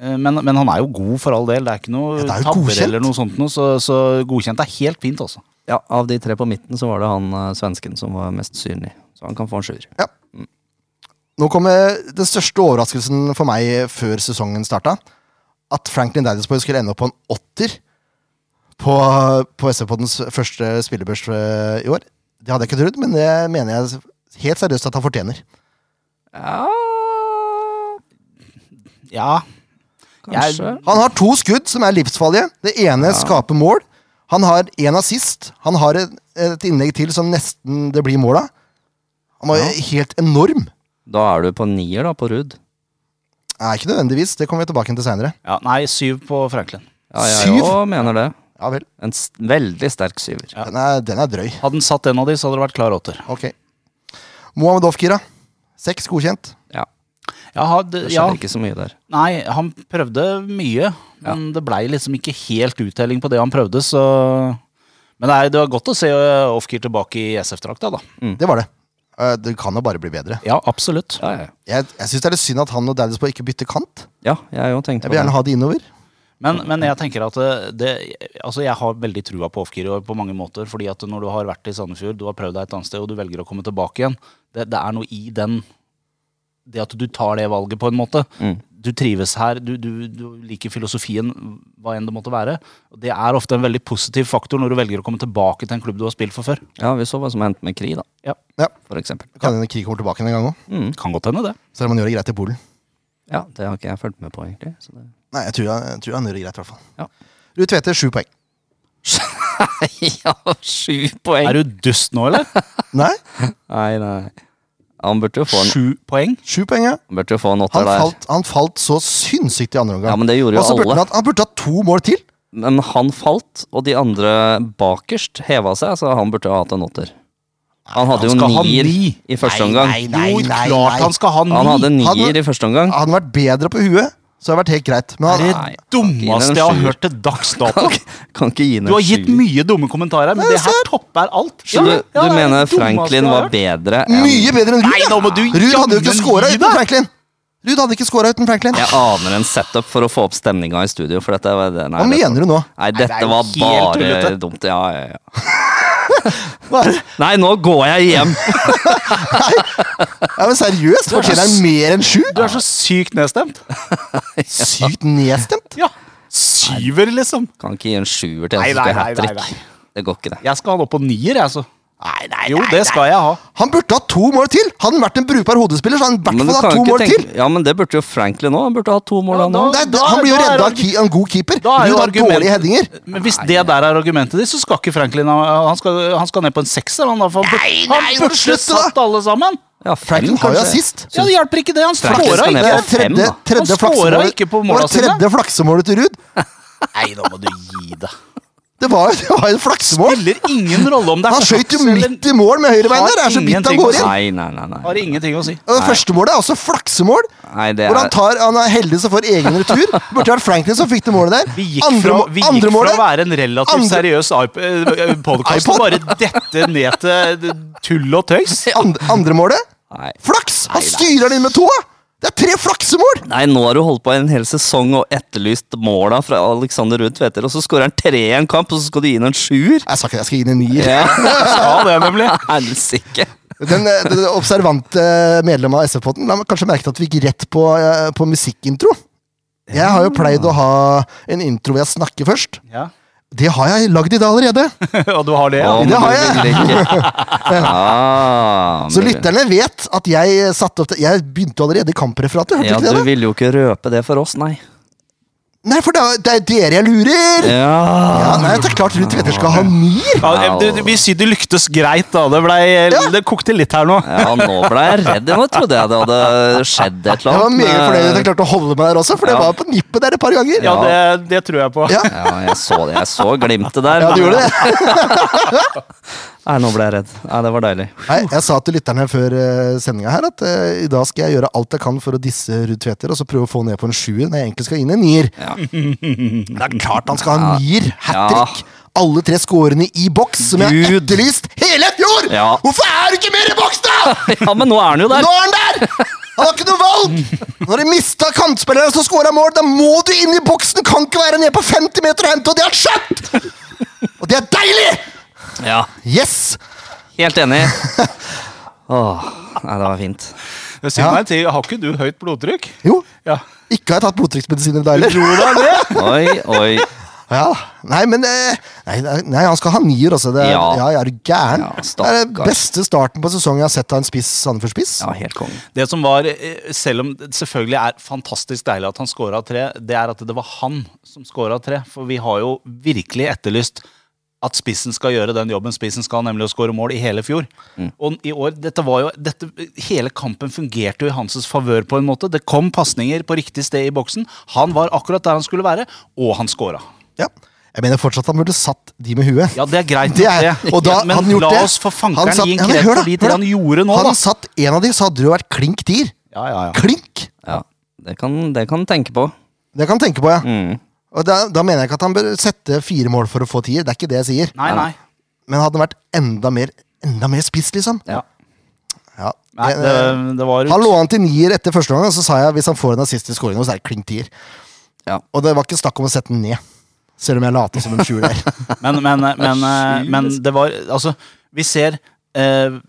S3: Eh, Men, men han er jo god for all del. Det er ikke
S1: Ja, det
S3: noe
S1: er jo
S3: tabber
S1: godkjent.
S3: eller noe sånt noe, så, så godkjent er helt fint, altså.
S2: ja, av de tre på midten så var det han eh, svensken som var mest synlig. Så han kan få en sjuer.
S1: Nå kommer den største overraskelsen for meg før sesongen starta. At Franklin Daddiesboy skulle ende opp på en åtter på, på SV-poddens første spillebørs eh, i år. Det hadde jeg ikke trodd, men det mener jeg helt seriøst at han fortjener.
S2: Ja,
S3: Ja.
S2: kanskje.
S1: Han har to skudd som er livsfarlige. Det ene skaper mål. Han har én assist. Han har et, et innlegg til som nesten det blir mål av. Han var helt enorm.
S2: Da er du på nier, da, på Ruud.
S1: Nei, ikke nødvendigvis. Det kommer vi tilbake til seinere.
S3: ja. Nei, syv på Franklin.
S2: Ja, jeg
S1: Syv?
S2: òg mener det.
S1: Ja vel.
S2: En s veldig sterk syver.
S3: Ja.
S1: Den er, den er drøy.
S3: Hadde han satt en av de, så hadde det vært klar åtter.
S1: Ok. Mohamed Ofkira. Seks godkjent.
S2: Ja,
S3: Ja, hadde,
S2: Det
S3: ja.
S2: skjedde ikke så mye der.
S3: Nei, han prøvde mye, men det blei liksom ikke helt uttelling på det han prøvde, så Men det, er, det var godt å se eh, Ofkir tilbake i SF-drakta, da.
S1: Det var det. Eh, Det kan jo bare bli bedre.
S3: Ja, absolutt.
S2: Ja, ja.
S1: Jeg, jeg syns det er litt synd at han og Daddies på ikke bytter kant.
S2: ja jeg òg
S1: Jeg
S2: tenkte på
S1: vil
S2: det.
S1: gjerne ha det innover.
S3: Men, men jeg tenker at eh, det, altså jeg har veldig trua på Ofkir i år på mange måter. fordi at når du har vært i Sandefjord, du har prøvd deg et annet sted, og du velger å komme tilbake igjen, det, det er noe i den Det at du tar det valget, på en måte.
S2: Mm.
S3: Du trives her, du, du, du liker filosofien, hva enn det måtte være. Og Det er ofte en veldig positiv faktor når du velger å komme tilbake til en klubb du har spilt for før.
S2: Ja, vi så hva som hendte med Kri, da.
S3: Ja.
S1: Ja.
S2: For eksempel.
S1: Kan hende Krig kommer tilbake en gang òg.
S2: Mm.
S3: Kan godt hende, det.
S1: Selv om han gjør det greit i Polen.
S2: Ja, det har ikke jeg fulgt med på, egentlig. Så det...
S1: Nei, jeg tror, han- jeg tror han gjør det greit, i hvert fall.
S2: Ja.
S1: Ruud Tvedte, sju poeng.
S2: ja, sju poeng!
S3: Er du dust nå, eller?
S1: Nei,
S2: Nei, nei. Han burde jo få en,
S3: Sju poeng?
S1: sju poeng, ja.
S2: han burde jo få en
S1: Han
S2: åtter der.
S1: falt, han falt så sinnssykt i andre omgang.
S2: Ja, men det gjorde
S1: Og
S2: jo
S1: så burde
S2: alle.
S1: han, hatt- han burde hatt to mål til.
S2: Men han falt, og de andre bakerst heva seg, så han burde ha hatt en åtter. Han hadde
S3: han
S2: jo
S3: skal ha
S2: nier
S3: ni.
S2: i første omgang.
S1: Nei,
S3: jo,
S1: nei,
S3: klart
S1: nei.
S3: han skal ha ni!
S2: Han hadde
S1: Han-
S2: nier i første omgang.
S1: Hadde han vært bedre på huet, så hadde det vært helt greit. Men
S3: Det
S1: han,
S2: Nei,
S3: dummeste
S2: ikke
S3: jeg har
S2: den sjuer.
S3: hørt til dags dato.
S2: Kan ikke- Kan ikke gi ned
S3: Du har gitt
S2: sjuer.
S3: mye dumme kommentarer, men det her topper alt.
S2: Så du, du mener Franklin var bedre enn
S1: mye bedre enn Ruud!
S3: Nei,
S1: ja.
S3: nå må du
S1: Ruud hadde jo ikke
S3: jammen
S1: scora
S3: gi
S1: uten
S3: deg.
S1: Franklin! Ruud hadde ikke scora uten Franklin.
S2: Jeg aner en setup for å få opp stemninga i studio, for dette var det. Nei,
S1: Hva
S2: dette-
S1: mener du nå?
S2: Nei,
S3: det er
S2: dette
S3: jo
S2: var
S3: helt
S2: bare
S3: tullete.
S2: dumt. Ja, ja, ja. Nei, nå går jeg hjem!
S1: Ja, men seriøst, fortjener han mer enn sju?
S3: Du er så sykt nedstemt.
S1: Sykt nedstemt.
S3: Ja. Syver, liksom.
S2: Kan ikke gi en sjuer til en
S3: Nei,
S2: som skal
S3: nei, nei,
S2: hat
S3: nei,
S2: trick.
S3: nei.
S2: Det går ikke, det.
S3: Jeg skal ha den opp på nier, jeg, altså. Nei, nei, jo, det skal jeg ha.
S1: Han burde hatt to mål til! Hadde han vært en brukbar hodespiller, så hadde han i hvert
S2: Men, du
S1: fall
S2: kan
S1: hatt to
S2: jo ikke
S1: mål til!
S2: tenke, ja, men det burde jo Franklin òg. Han burde ha to mål,
S3: Ja,
S2: han
S3: da-
S2: òg.
S1: Nei,
S3: da-
S1: han blir jo
S3: da er
S1: redda av
S3: argu-
S1: ki- av en god keeper.
S3: Da er jo
S1: Ruud har
S3: argumentet-
S1: dårlige headinger.
S3: Men hvis det der er argumentet ditt, så skal ikke Franklin ha Han skal, han skal ned på en sekser, han da. For han bur-
S1: nei,
S3: han
S1: nå
S3: burde
S1: slutt, da.
S3: satt alle sammen.
S2: Ja, fem,
S1: Franklin har jo
S2: kanskje.
S1: assist.
S3: Ja, det hjelper ikke det. Han
S2: Franklin
S3: scora
S2: skal ned
S3: ikke.
S1: Det er
S2: på fem,
S1: tredje,
S2: da.
S1: tredje
S3: Han scoret
S1: flaksemålet-
S3: ikke på
S1: det var
S3: måla sine.
S1: Tredje flaksemålet til Ruud.
S3: Nei, nå må du gi deg.
S1: Det var jo det var jo et flaksemål!
S3: Spiller ingen rolle om det er
S1: Han skjøt jo
S3: flaks eller-
S1: midt i mål med høyrebeinet! Det er så vidt han
S3: Ingenting å
S1: går
S3: si.
S1: inn!
S2: Nei, nei, nei. nei.
S3: Har ingenting å si.
S1: Og Det første målet er også flaksemål.
S2: nei det
S1: Hvor han,
S2: er,
S1: tar, han er heldig som får egen retur. Burde vært Franklin som fikk det målet der.
S3: Vi gikk,
S1: Andre,
S3: fra,
S1: må-
S3: vi
S1: andre
S3: gikk fra å
S1: målet
S3: være en relativt
S1: Andre-
S3: seriøs podkast
S1: iPod?
S3: til bare dette ned til d- tull og tøys.
S1: andre, andre målet
S2: nei.
S1: Flaks! Han styrer den inn med tåa! Det er tre flaksemål!
S2: nei, nå har du holdt på en hel sesong og etterlyst måla fra Alexander Ruud Tveter, og så skårer han tre i en kamp, og så skal du gi ham en sjuer?
S1: Jeg sa ikke at jeg skal inn i nier.
S2: Ja,
S3: Ja, det er nemlig.
S2: Helsike.
S1: Den, eh, den observante medlemmet av SV-potten la meg kanskje merke til at vi gikk rett på, eh, på musikkintro. Jeg har jo pleid å ha en intro hvor jeg snakker først.
S3: Ja.
S1: Det har jeg lagd i dag allerede!
S3: Og du har det, ja?
S2: Å, men
S1: det har
S2: du
S1: jeg.
S2: vil ikke. Ah,
S1: Så
S2: men du-
S1: lytterne vet at jeg satte opp det. Jeg begynte allerede i kampreferatet. Hørte
S2: Ja,
S1: du ikke
S2: du
S1: det? da?
S2: ville jo ikke røpe det for oss, nei.
S1: Nei, for det er, det er dere jeg lurer! Ja.
S2: Ja,
S1: nei, det er klart Ruud Tvedter skal ha nier!
S3: Ja, eh, du, du- vi sier det lyktes greit, da. Det, ble, eh, det kokte litt her nå.
S2: ja nå ble jeg redd. Nå trodde jeg det hadde skjedd et
S1: Jeg
S2: eller
S1: var
S2: annet.
S1: meget fornøyd med at
S2: med-
S1: jeg klarte å holde meg der også, for det
S2: Ja.
S1: var på nippet der et par ganger.
S3: Ja, det, det tror jeg på.
S1: Ja.
S2: Ja, jeg så det. Jeg så glimtet der.
S1: Ja, du gjorde det.
S2: Nei, nå ble jeg redd. Nei, det var deilig.
S1: Nei, jeg sa til lytterne før uh, sendinga her at eh, i dag skal jeg gjøre alt jeg kan for å disse Ruud Tveter, og så prøve å få ned på en sjuer når jeg egentlig skal inn i en nier.
S2: Ja.
S1: Det er klart han skal ha en nier! Hat trick!
S2: Ja.
S1: Alle tre scorene i boks, som jeg har
S2: Gud.
S1: etterlyst hele i fjor!
S2: Ja.
S1: Hvorfor er du ikke mer i boks, da?!
S2: Ja, men nå er han jo der!
S1: Nå er han der! Han har ikke noe valg! Når du mista kantspilleren som scora mål, da må du inn i boksen! Du kan ikke være nede på 50 meter og hente, og det har skjønt! Og det er deilig!
S2: Ja,
S1: Yes!
S2: Helt enig. Åh, nei, det var fint.
S3: Si
S1: Ja.
S3: meg en ting, Har ikke du høyt blodtrykk?
S1: Jo,
S3: Ja.
S1: ikke har jeg tatt blodtrykksmedisiner da heller.
S2: Oi, oi.
S1: Ja, nei, men eh, nei, nei, han skal ha nier, altså. Det er, ja.
S2: Ja.
S1: jeg er du gæren.
S2: Ja,
S1: det er den
S2: stakkars.
S1: beste starten på sesongen jeg har sett av en spiss Sandefjord-spiss.
S2: Ja, helt konge.
S3: Det som var, eh, Selv om det selvfølgelig er fantastisk deilig at han scora tre, det er at det var han som scora tre. For vi har jo virkelig etterlyst at spissen skal gjøre den jobben spissen skal, nemlig å skåre mål i hele fjor.
S1: Mm.
S3: Og i år, dette var jo, dette, Hele kampen fungerte jo i hans favør, på en måte. Det kom pasninger på riktig sted i boksen. Han var akkurat der han skulle være, og han scora.
S1: Ja. Jeg mener fortsatt han burde satt de med huet.
S3: Ja, det er greit.
S1: Det er,
S3: nok det.
S1: og da
S3: Men
S1: hadde han gjort
S3: la
S1: det.
S3: oss for
S1: Han
S3: fankeren
S1: satt-
S3: gi en
S1: Ja, men
S3: kredd
S1: hør da,
S3: for de
S1: hør da.
S3: han gjorde nå,
S1: Han
S3: da.
S1: satt en av de, så hadde det jo vært klink tier.
S3: Ja, ja, ja.
S1: Klink!
S2: Ja, det kan det kan tenke på.
S1: Det kan du tenke på, ja.
S2: Mm.
S1: Og da, da mener jeg ikke at han bør sette fire mål for å få tier, det er ikke det jeg sier.
S3: Nei, nei.
S1: Men hadde han vært enda mer, enda mer spiss, liksom.
S2: Ja.
S1: Ja.
S3: nei
S1: Jeg-
S3: det, det var
S1: Han lå an til nier etter første gang, og så sa jeg hvis han får en assist i scoringen, så er det klink tier.
S2: Ja.
S1: Og det var ikke snakk om å sette den ned. Selv om jeg later som en sjuer der.
S3: Men, men, men, eh, men det var Altså, vi ser eh,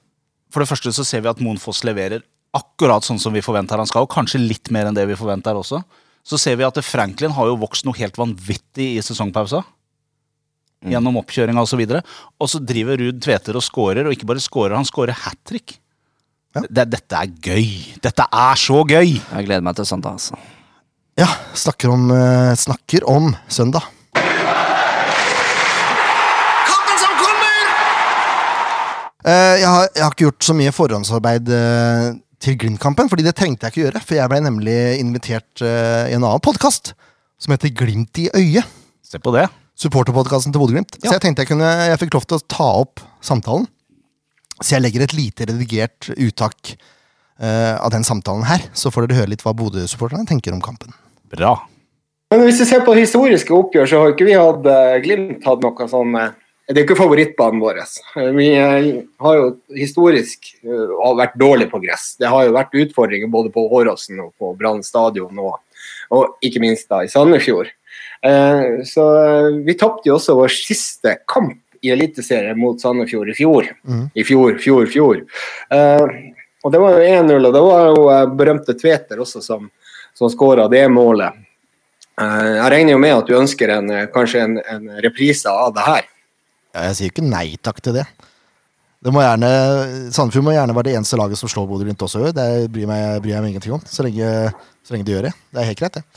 S3: For det første så ser vi at Monfoss leverer akkurat sånn som vi forventer han skal, og kanskje litt mer enn det vi forventer også. Så ser vi at Franklin har jo vokst noe helt vanvittig i sesongpausa. Gjennom oppkjøringa osv. Og så driver Ruud Tveter og scorer, og ikke bare scorer, han scorer hat trick. Det, dette er gøy! Dette er så gøy!
S2: Jeg gleder meg til søndag, altså.
S1: Ja, snakker om, eh, snakker om søndag.
S4: Kampen som kommer!
S1: Eh, jeg, har, jeg har ikke gjort så mye forhåndsarbeid eh, til Glimt-kampen, fordi det trengte jeg ikke gjøre, for jeg ble nemlig invitert eh, i en annen podkast som heter Glimt i øyet.
S3: Se på det.
S1: Supporterpodkasten til Bodø-Glimt. Så jeg tenkte jeg kunne, jeg fikk lov til å ta opp samtalen. Så jeg legger et lite redigert uttak eh, av den samtalen her. Så får dere høre litt hva Bodø-supporterne tenker om kampen.
S3: Bra.
S5: Men hvis vi ser på historiske oppgjør, så har ikke vi hatt eh, Glimt hatt noe sånn eh, Det er jo ikke favorittbanen vår. Eh, Vi eh, har jo historisk eh, har vært dårlig på gress. Det har jo vært utfordringer både på Åråsen og på Brann stadion, og, og ikke minst da i Sandefjord. Eh, Så eh, vi tapte jo også vår siste kamp i Eliteserien mot Sandefjord i fjor.
S1: Mhm.
S5: I fjor, fjor, fjor. Eh, Og det var jo 1-0, og det var jo eh, berømte Tveter også som, som skåra det målet. Eh, Jeg regner jo med at du ønsker en, eh, kanskje en, en reprise av det her.
S1: Ja, jeg sier jo ikke nei takk til det. Det må gjerne, Sandefjord må gjerne være det eneste laget som slår Bodø-Glimt også i år. Det bryr meg, bryr jeg meg ingenting om, så lenge, så lenge de gjør det. Det er helt greit, det.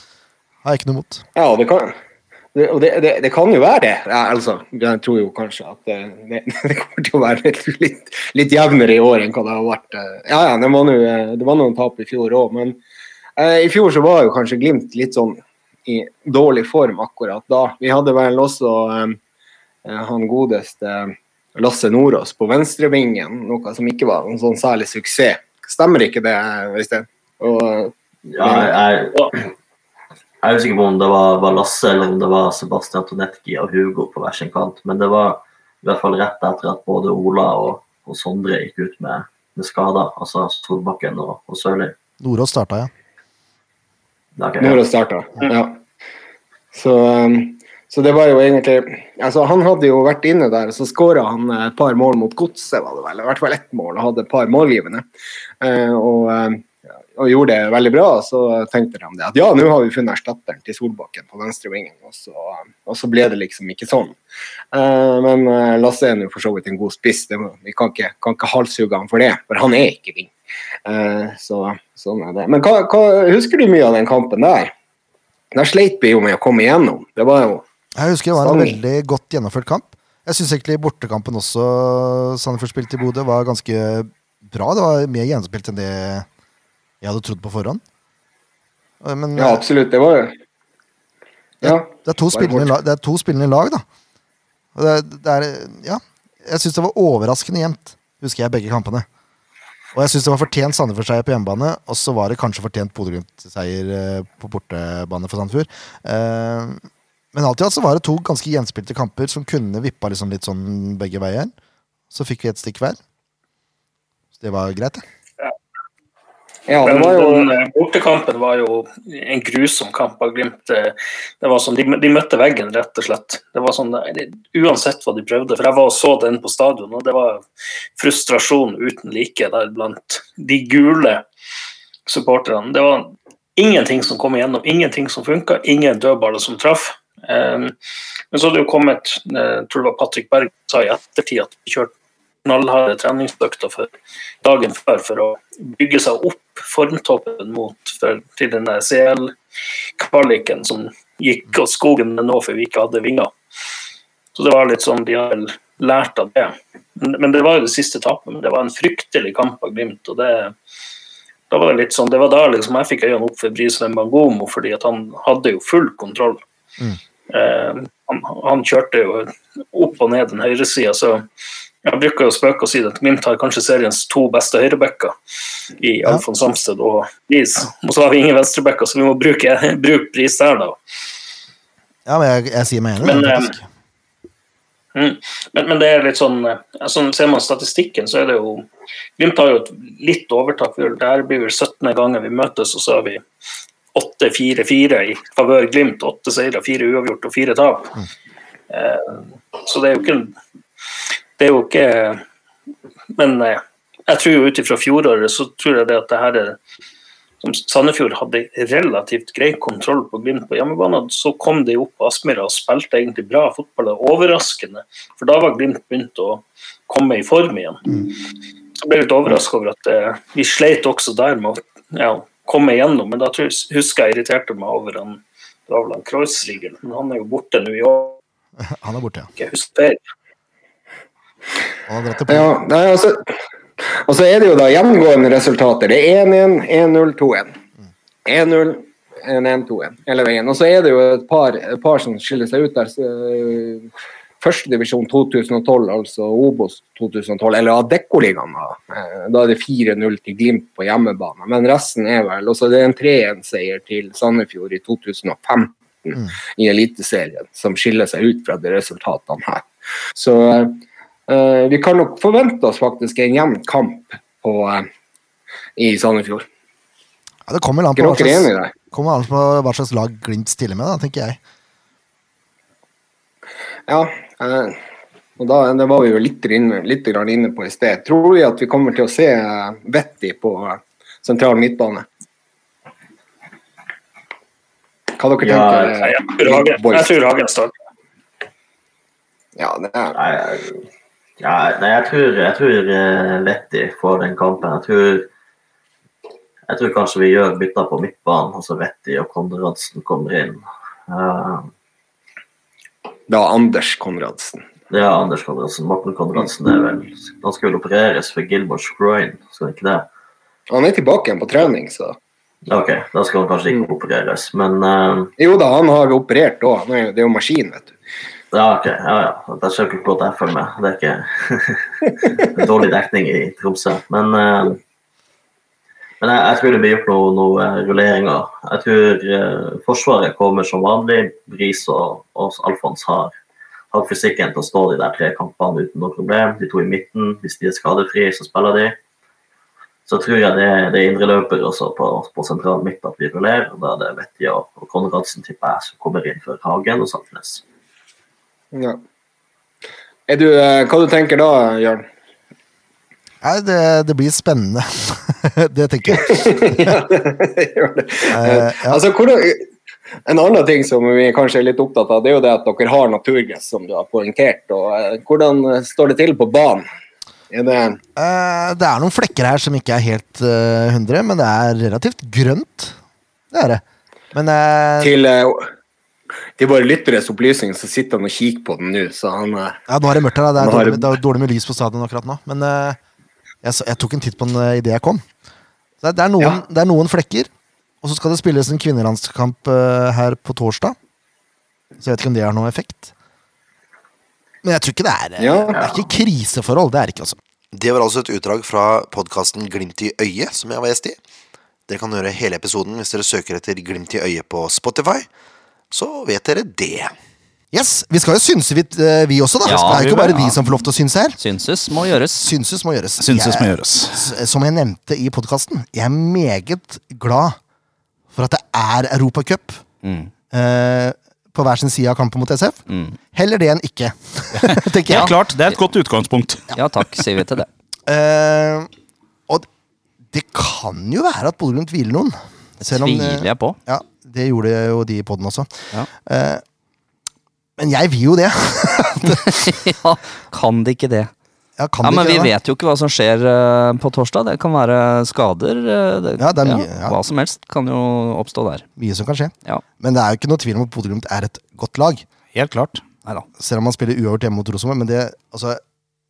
S1: Har jeg ikke noe imot.
S5: Ja, og det kan, det, og det, det, det kan jo være det. Ja, altså, jeg tror jo kanskje at eh, det, det kommer til å være litt, litt jevnere i år enn hva det har vært. eh. Ja, ja, det var, nå, eh, det var noen tap i fjor òg, men eh, i fjor så var jo kanskje Glimt litt sånn i dårlig form akkurat da. Vi hadde vel også eh, han godeste eh, Lasse Nordås på venstrevingen, noe som ikke var en sånn særlig suksess. Stemmer ikke det, Øystein? Og, eh,
S6: Ja, jeg, jeg, jeg er usikker på om det var, var Lasse eller om det var Sebastian Tonetki og Hugo på hver sin kant, men det var i hvert fall rett etter at både Ola og, og Sondre gikk ut med, med skader, altså Solbakken og, og Sørli.
S1: Nordås starta, ja.
S6: Det er ikke-
S5: Når det starta, ja. Så, um, så det var jo egentlig altså Han hadde jo vært inne der, og så skåra han eh, et par mål mot Godset, var det vel. I hvert fall ett mål, og hadde et par målgivende. Eh, og eh, og gjorde det veldig bra, så tenkte de det at ja, nå har vi funnet erstatteren til Solbakken på venstre vingen, og så, og så ble det liksom ikke sånn. Eh, men eh, Lasse er nå for så vidt en god spiss, det må, vi kan ikke, kan ikke halshugge han for det, for han er ikke ving. Eh, så sånn er det. Men hva, hva, husker du mye av den kampen der? Der sleit vi jo med å komme igjennom. Det var jo
S1: Jeg husker det var en
S5: Sandefjord.
S1: veldig godt gjennomført kamp. Jeg syns egentlig bortekampen også Sandefjord spilte i Bodø, var ganske bra. Det var mer gjennomspilt enn det jeg hadde trodd på forhånd. Eh, Men
S5: Ja, absolutt. Det var jo Ja.
S1: det, er to
S5: Bare
S1: spillende,
S5: bort.
S1: lag- det er to spillende lag, da. Og det, er- det er Ja. Jeg syns det var overraskende jevnt, husker jeg, begge kampene. Og jeg syns det var fortjent Sandefjord-seier på hjemmebane, og så var det kanskje fortjent Bodø-Glimt-seier eh, på bortebane for Sandefjord. Eh, Men alt i alt så var det to ganske gjenspilte kamper som kunne vippa liksom litt sånn begge veier. Så fikk vi ett stikk hver. Så det var greit, det.
S5: ja, det
S7: Men
S5: var jo
S7: den eh, bortekampen var jo en grusom kamp av Glimt. eh, Det var sånn, de, mø- de møtte veggen, rett og slett. Det var sånn, eh, det- Uansett hva de prøvde. For jeg var og så den på stadion, og det var frustrasjon uten like der blant de gule supporterne. Det var ingenting som kom igjennom, ingenting som funka, ingen dødballer som traff. Eh, men så hadde det jo kommet, eh, jeg tror det var Patrick Berg sa i ettertid at de kjørte knallharde treningsøkter for dagen før for å bygge seg opp formtoppen mot for, til den der CL-kvaliken som gikk og skogen med nå for vi ikke hadde vinger. Så det var litt sånn, de har vel lært av det. Men, men det var jo det siste tapet, men det var en fryktelig kamp av Glimt. og det da var det litt sånn, det var da liksom jeg fikk øynene opp for Brisveen Bangomo, fordi at han hadde jo full kontroll.
S1: Mm.
S7: Eh, han, han kjørte jo opp og ned den høyresida, så jeg bruker jo å spøke og si at Glimt har kanskje seriens to beste høyrebacker i
S1: Ja.
S7: Alfons Samsted og Bris. Og så har vi ingen venstrebacker, så vi må bruke, bruke Bris der, da.
S1: Ja, men jeg, jeg sier meg enig.
S7: Men,
S1: det,
S7: eh,
S1: faktisk.
S7: Mm. Men, men det er litt sånn, eh, altså, ser man statistikken, så er det jo Glimt har jo et litt overtak. Vi er- Det her blir vel 17. gangen vi møtes, og så har vi 8-4-4 i favør Glimt. Åtte seire, fire uavgjort og fire tap. Eh, så det er jo ikke Det er jo ikke Men eh, jeg tror jo ut ifra fjoråret, så tror jeg det at det her er som Sandefjord hadde relativt grei kontroll på Glimt på hjemmebane. Så kom de opp på Aspmyra og spilte egentlig bra fotball. og Overraskende. For da var Glimt begynt å komme i form igjen.
S6: Mm.
S7: Jeg ble litt overraska over at eh, vi sleit også der med å ja, komme igjennom. Men da tror jeg, husker jeg irriterte meg over han det var vel han Kreuzriger, men han er jo borte nå i år.
S1: Han er borte, ja.
S7: Jeg husker feil.
S1: Og han har dratt til Polen.
S5: Ja, nei, altså, og så er det jo da gjengående resultater. Det er 1-1, 1-0, 2-1. 1-0, 1-1, 2-1 hele veien. Og så er det jo et par, et par som skiller seg ut der. Så, øh, Førstedivisjon 2012, altså Obos 2012, eller Adeccoligaen. Da Eh, Da er det 4-0 til Glimt på hjemmebane. Men resten er vel Og så er det en 3-1-seier til Sandefjord i 2015 i Eliteserien, som skiller seg ut fra de resultatene her. Så eh, Eh, vi kan nok forvente oss faktisk en jevn kamp på, eh, i Sandefjord.
S1: Ja, det kommer vel an på
S5: Er
S1: hva
S5: dere
S1: slags-
S5: enig i det?
S1: kommer an på hva slags lag Glimt stiller med, da, tenker jeg.
S5: Ja. eh, og da, det var vi jo litt, inne, litt grann inne på i sted. Tror vi at vi kommer til å se eh, Vetti på eh, sentral midtbane? Hva dere
S6: Ja,
S5: tenker
S7: Nei,
S5: eh,
S7: Jeg tror Hagen, jeg
S5: boys?
S7: tror Hagen starter.
S5: Ja, det er,
S6: Nei, jeg- ja, nei jeg tror, jeg tror eh, Vetti får den kampen. Jeg tror, jeg tror kanskje vi gjør bytter på midtbanen, altså Vetti og Konradsen kommer inn. Eh,
S5: da Anders Konradsen.
S6: Det er Anders Konradsen. Morten Konradsen er vel Han skal vel opereres for Gilmore Groin, skal han ikke det?
S5: Han er tilbake igjen på trening, så
S6: Ok, da skal han kanskje ikke opereres, men eh,
S5: Jo da, han har jo operert òg. Han er jo- Det er jo maskin, vet du.
S6: Ja, ok. Ja, ja. Det er kjempegodt jeg følger med. Det er ikke dårlig dekning i Tromsø. Men, eh, men jeg, jeg tror det blir gjort noen noe eh, rulleringer. Jeg tror eh, Forsvaret kommer som vanlig. Bris og, og Alfons har, har fysikken til å stå de der tre kampene uten noe problem. De to i midten. Hvis de er skadefrie, så spiller de. Så tror jeg det, det er indreløper også på, på sentral midt at vi rullerer. og Da er det Vetti og, og Konradsen, tipper jeg, som kommer inn for Hagen og Saltnes.
S5: Ja. Er du, eh, hva du tenker da, Jørn?
S1: Nei, det, det blir spennende. det tenker jeg.
S5: ja, det gjør det.
S1: Eh, ja.
S5: Altså, hvordan, en annen ting som vi kanskje er litt opptatt av, det er jo det at dere har naturgress, som du har poengtert. Og, eh, hvordan står det til på banen? Er det,
S1: Eh, det er noen flekker her som ikke er helt eh, 100, men det er relativt grønt. Det er det. Men eh,
S5: til, eh, til våre lytteres opplysning så sitter han og kikker på den nå, så han eh,
S1: ja, nå er det mørkt her. da. Det er
S5: Nå har
S1: dårlig,
S5: det-
S1: det er dårlig med lys på stadion akkurat nå. Men eh, jeg, så, jeg tok en titt på den eh, idet jeg kom. Så det, er noen,
S5: Ja.
S1: det er noen flekker. Og så skal det spilles en kvinnelandskamp eh, her på torsdag. Så jeg vet ikke om det har noen effekt. Men jeg tror ikke det er eh,
S5: Ja.
S1: Det er ikke kriseforhold. Det er det ikke, altså. Det var altså et utdrag fra podkasten Glimt i øyet, som jeg var gjest i. Dere kan høre hele episoden hvis dere søker etter Glimt i øyet på Spotify. Så vet dere det. Yes, Vi skal jo synse, vi, eh, vi også, da. det
S2: Ja,
S1: er jo ikke
S2: vi-
S1: bare
S2: ja.
S1: vi som får lov til å synse her.
S2: Synses må gjøres.
S1: Synses må gjøres.
S3: Synses må
S1: Jeg-
S3: gjøres.
S1: s- Som jeg nevnte i podkasten, jeg er meget glad for at det er Europacup
S2: Mm.
S1: eh, på hver sin side av kampen mot SF. Heller det enn ikke, tenker jeg.
S3: Helt klart, det er et godt utgangspunkt.
S2: Ja takk, sier vi til det.
S1: Eh, og det kan jo være at Bodø Glimt hviler noen. Selv om eh, det-
S2: Tviler jeg på.
S1: Ja, det gjorde jo de i poden også.
S2: Ja.
S1: Eh, men jeg vil jo det.
S2: ja, kan de ikke det?
S1: Ja, kan
S2: Ja,
S1: de
S2: Men
S1: ikke
S2: vi
S1: det, da?
S2: vet jo ikke hva som skjer eh, på torsdag. Det kan være skader. eh, det,
S1: Ja, det er mye, ja.
S2: Hva som helst kan jo oppstå der.
S1: Mye som kan skje.
S2: Ja.
S1: Men det er jo ikke noe tvil om at Bodø Glimt er et godt lag.
S3: Helt klart.
S2: Nei da.
S1: Selv om man spiller uavgjort hjemme mot Rosenborg. Men det, altså,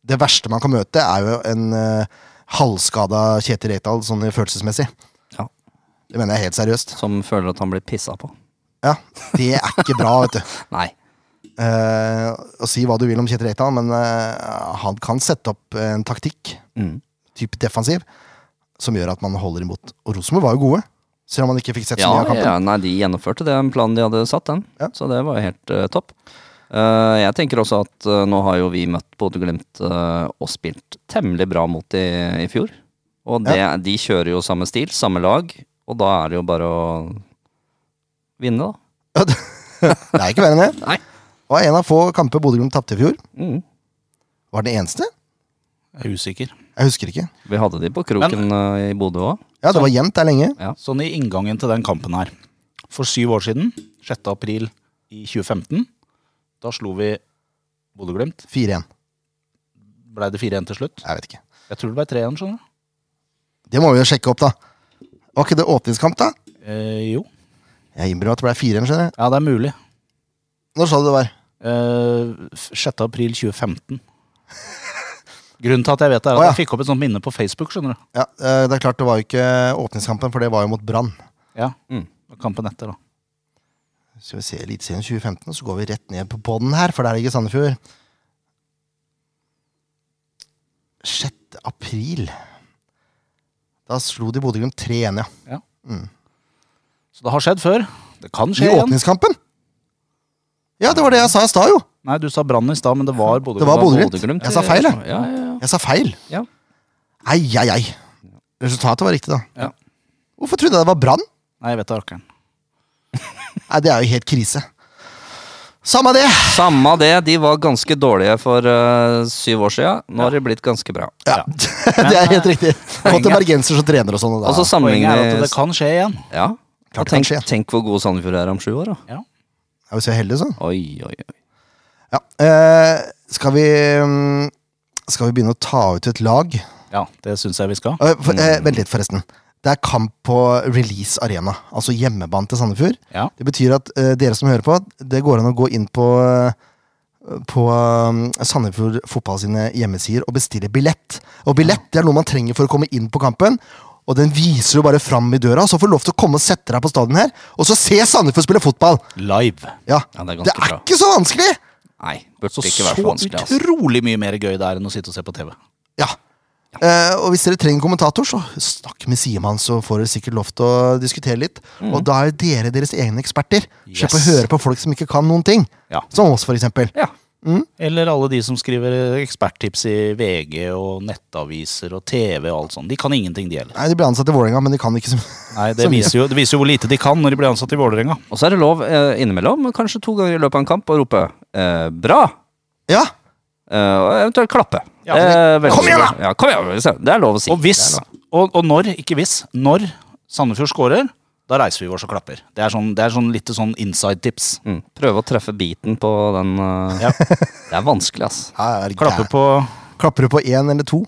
S1: det verste man kan møte, er jo en uh, halvskada Kjetil Reitdal sånn følelsesmessig.
S2: Ja.
S1: Det mener jeg helt seriøst.
S2: Som føler at han blir pissa på.
S1: Ja, Det er ikke bra, vet du.
S2: Nei.
S1: Eh, å si hva du vil om Kjetil Reitdal, men eh, han kan sette opp en taktikk,
S2: Mm.
S1: type defensiv, som gjør at man holder imot. Og Rosenborg var jo gode, selv om man ikke fikk sett så
S2: Ja,
S1: mye av kampen.
S2: ja, nei, de gjennomførte den planen de hadde satt, den.
S1: Ja.
S2: Så det var jo helt eh, topp. Eh, jeg tenker også at eh, nå har jo vi møtt Bodø-Glimt eh, og spilt temmelig bra mot de i fjor. Og det, de kjører jo samme stil, samme lag, og da er det jo bare å vinne, da.
S1: Det er ikke verre enn det.
S2: Nei.
S1: Det var en av få kamper Bodø-Glimt tapte i fjor.
S2: Mm.
S1: Var det den eneste?
S3: Jeg er usikker.
S1: Jeg husker ikke.
S2: Vi hadde de på kroken eh, i Bodø òg.
S1: Ja, det var jevnt der lenge.
S3: Sånn i inngangen til den kampen her. For syv år siden, 6. april i 2015, da slo vi Bodø-Glimt.
S1: 4-1.
S3: Ble det 4-1 til slutt?
S1: Jeg vet ikke.
S3: Jeg tror det ble 3-1, skjønner du.
S1: Det må vi jo sjekke opp, da. Var ikke det åpningskamp, da?
S3: Eh, jo.
S1: Jeg innbiller meg at det ble 4-1, skjønner jeg.
S3: Ja, det er mulig.
S1: Når sa du det var?
S3: Eh, f- 6. april 2015. Grunnen til at jeg vet det, er at
S1: Å, ja.
S3: jeg fikk opp et sånt minne på Facebook, skjønner du.
S1: Ja, eh, Det er klart det var jo ikke åpningskampen, for det var jo mot Brann.
S3: Ja.
S2: Mm.
S3: Kampen etter, da.
S1: Skal vi se Eliteserien 2015, så går vi rett ned på bånden her, for der ligger Sandefjord. 6. april. Da slo de Bodø-Glimt 3-1, ja.
S3: Så det har skjedd før. Det kan
S1: I
S3: skje igjen.
S1: åpningskampen! Ja, det var det jeg sa i stad, jo!
S3: Nei, du sa Brann i stad, men det var
S1: Det var Bodø-Glimt.
S3: Bodø-Glimt.
S2: Bodø-Glimt.
S1: Jeg sa feil, jeg.
S2: Ja, ja, ja.
S1: Jeg sa feil.
S2: Ja.
S1: Ei, ei, ei. Resultatet var riktig, da.
S3: Ja.
S1: Hvorfor trodde jeg det var Brann?
S3: Nei, jeg vet det, rakkeren.
S1: Nei, det er jo helt krise. Samme det!
S2: Samme det, de var ganske dårlige for eh, syv år sia. Nå har de blitt ganske bra.
S1: Ja. det er helt riktig. Og til bergenser som trener og sånn. og da-
S2: Og eh, Altså, så
S3: Poenget er
S2: sammenligner
S3: at det
S2: vi
S3: kan skje igjen.
S2: Ja.
S1: Klart
S2: Og
S1: det kan
S2: tenk,
S1: skje.
S2: tenk hvor god Sandefjord er om sju år, da.
S1: Ja, hvis vi er heldige, så.
S2: Oi, oi, oi.
S1: Ja. Eh, skal vi mm, Skal vi begynne å ta ut et lag?
S3: Ja, det syns jeg vi skal.
S1: Eh, for,
S2: Mm.
S1: eh, vent litt, forresten. Det er kamp på Release Arena, altså hjemmebane til Sandefjord.
S3: Ja.
S1: Det betyr at eh, dere som hører på, det går an å gå inn på eh, på um, Sandefjord Fotball sine hjemmesider og bestille billett. Og billett det er noe man trenger for å komme inn på kampen. Og den viser du bare fram i døra, så får du lov til å komme og sette deg på stadion her. Og så se Sandefjord spille fotball!
S3: Live.
S1: Ja,
S2: Ja, det er
S1: Det
S2: ganske
S1: er
S2: bra.
S1: ikke så vanskelig!
S2: Nei, burde
S3: Så,
S2: ikke være
S3: så
S2: så vanskelig, altså.
S3: utrolig mye mer gøy det er enn å sitte og se på TV.
S1: Ja. Eh, og hvis dere trenger kommentator, så snakk med Siman, så får dere sikkert lov til å diskutere litt. Og da er dere deres egne eksperter. Slipp å
S3: Mm. Yes.
S1: høre på folk som ikke kan noen ting.
S3: Ja.
S1: Som oss, for eksempel.
S2: Ja.
S3: Eller alle de som skriver eh, eksperttips i VG og nettaviser og TV og alt sånt. De kan ingenting, de heller. Sånn,
S1: Nei, de ble ansatt i Vålerenga, men de kan ikke så
S3: Nei, det,
S1: Så mye.
S3: viser jo, det viser jo hvor lite de kan når de blir ansatt i Vålerenga.
S2: Og så er det lov eh, innimellom, kanskje to ganger i løpet av en kamp, å rope eh, 'bra',
S1: Ja!
S2: eh, og eventuelt klappe.
S3: Ja.
S2: Eh, veldig
S1: Kom igjen,
S2: bra. Ja, kom igjen, vi ser. Det er lov å si.
S3: Og hvis,
S2: Det er lov.
S3: og, og når, ikke hvis, når Sandefjord scorer, da reiser vi oss og klapper. Det er sånn, det er sånn litt sånn inside tips.
S2: Mm. Prøve å treffe biten på den eh,
S3: Ja.
S2: Det er vanskelig, ass.
S1: Her er det
S3: Klappe
S1: gæ-
S3: på
S1: Klapper du på én eller to?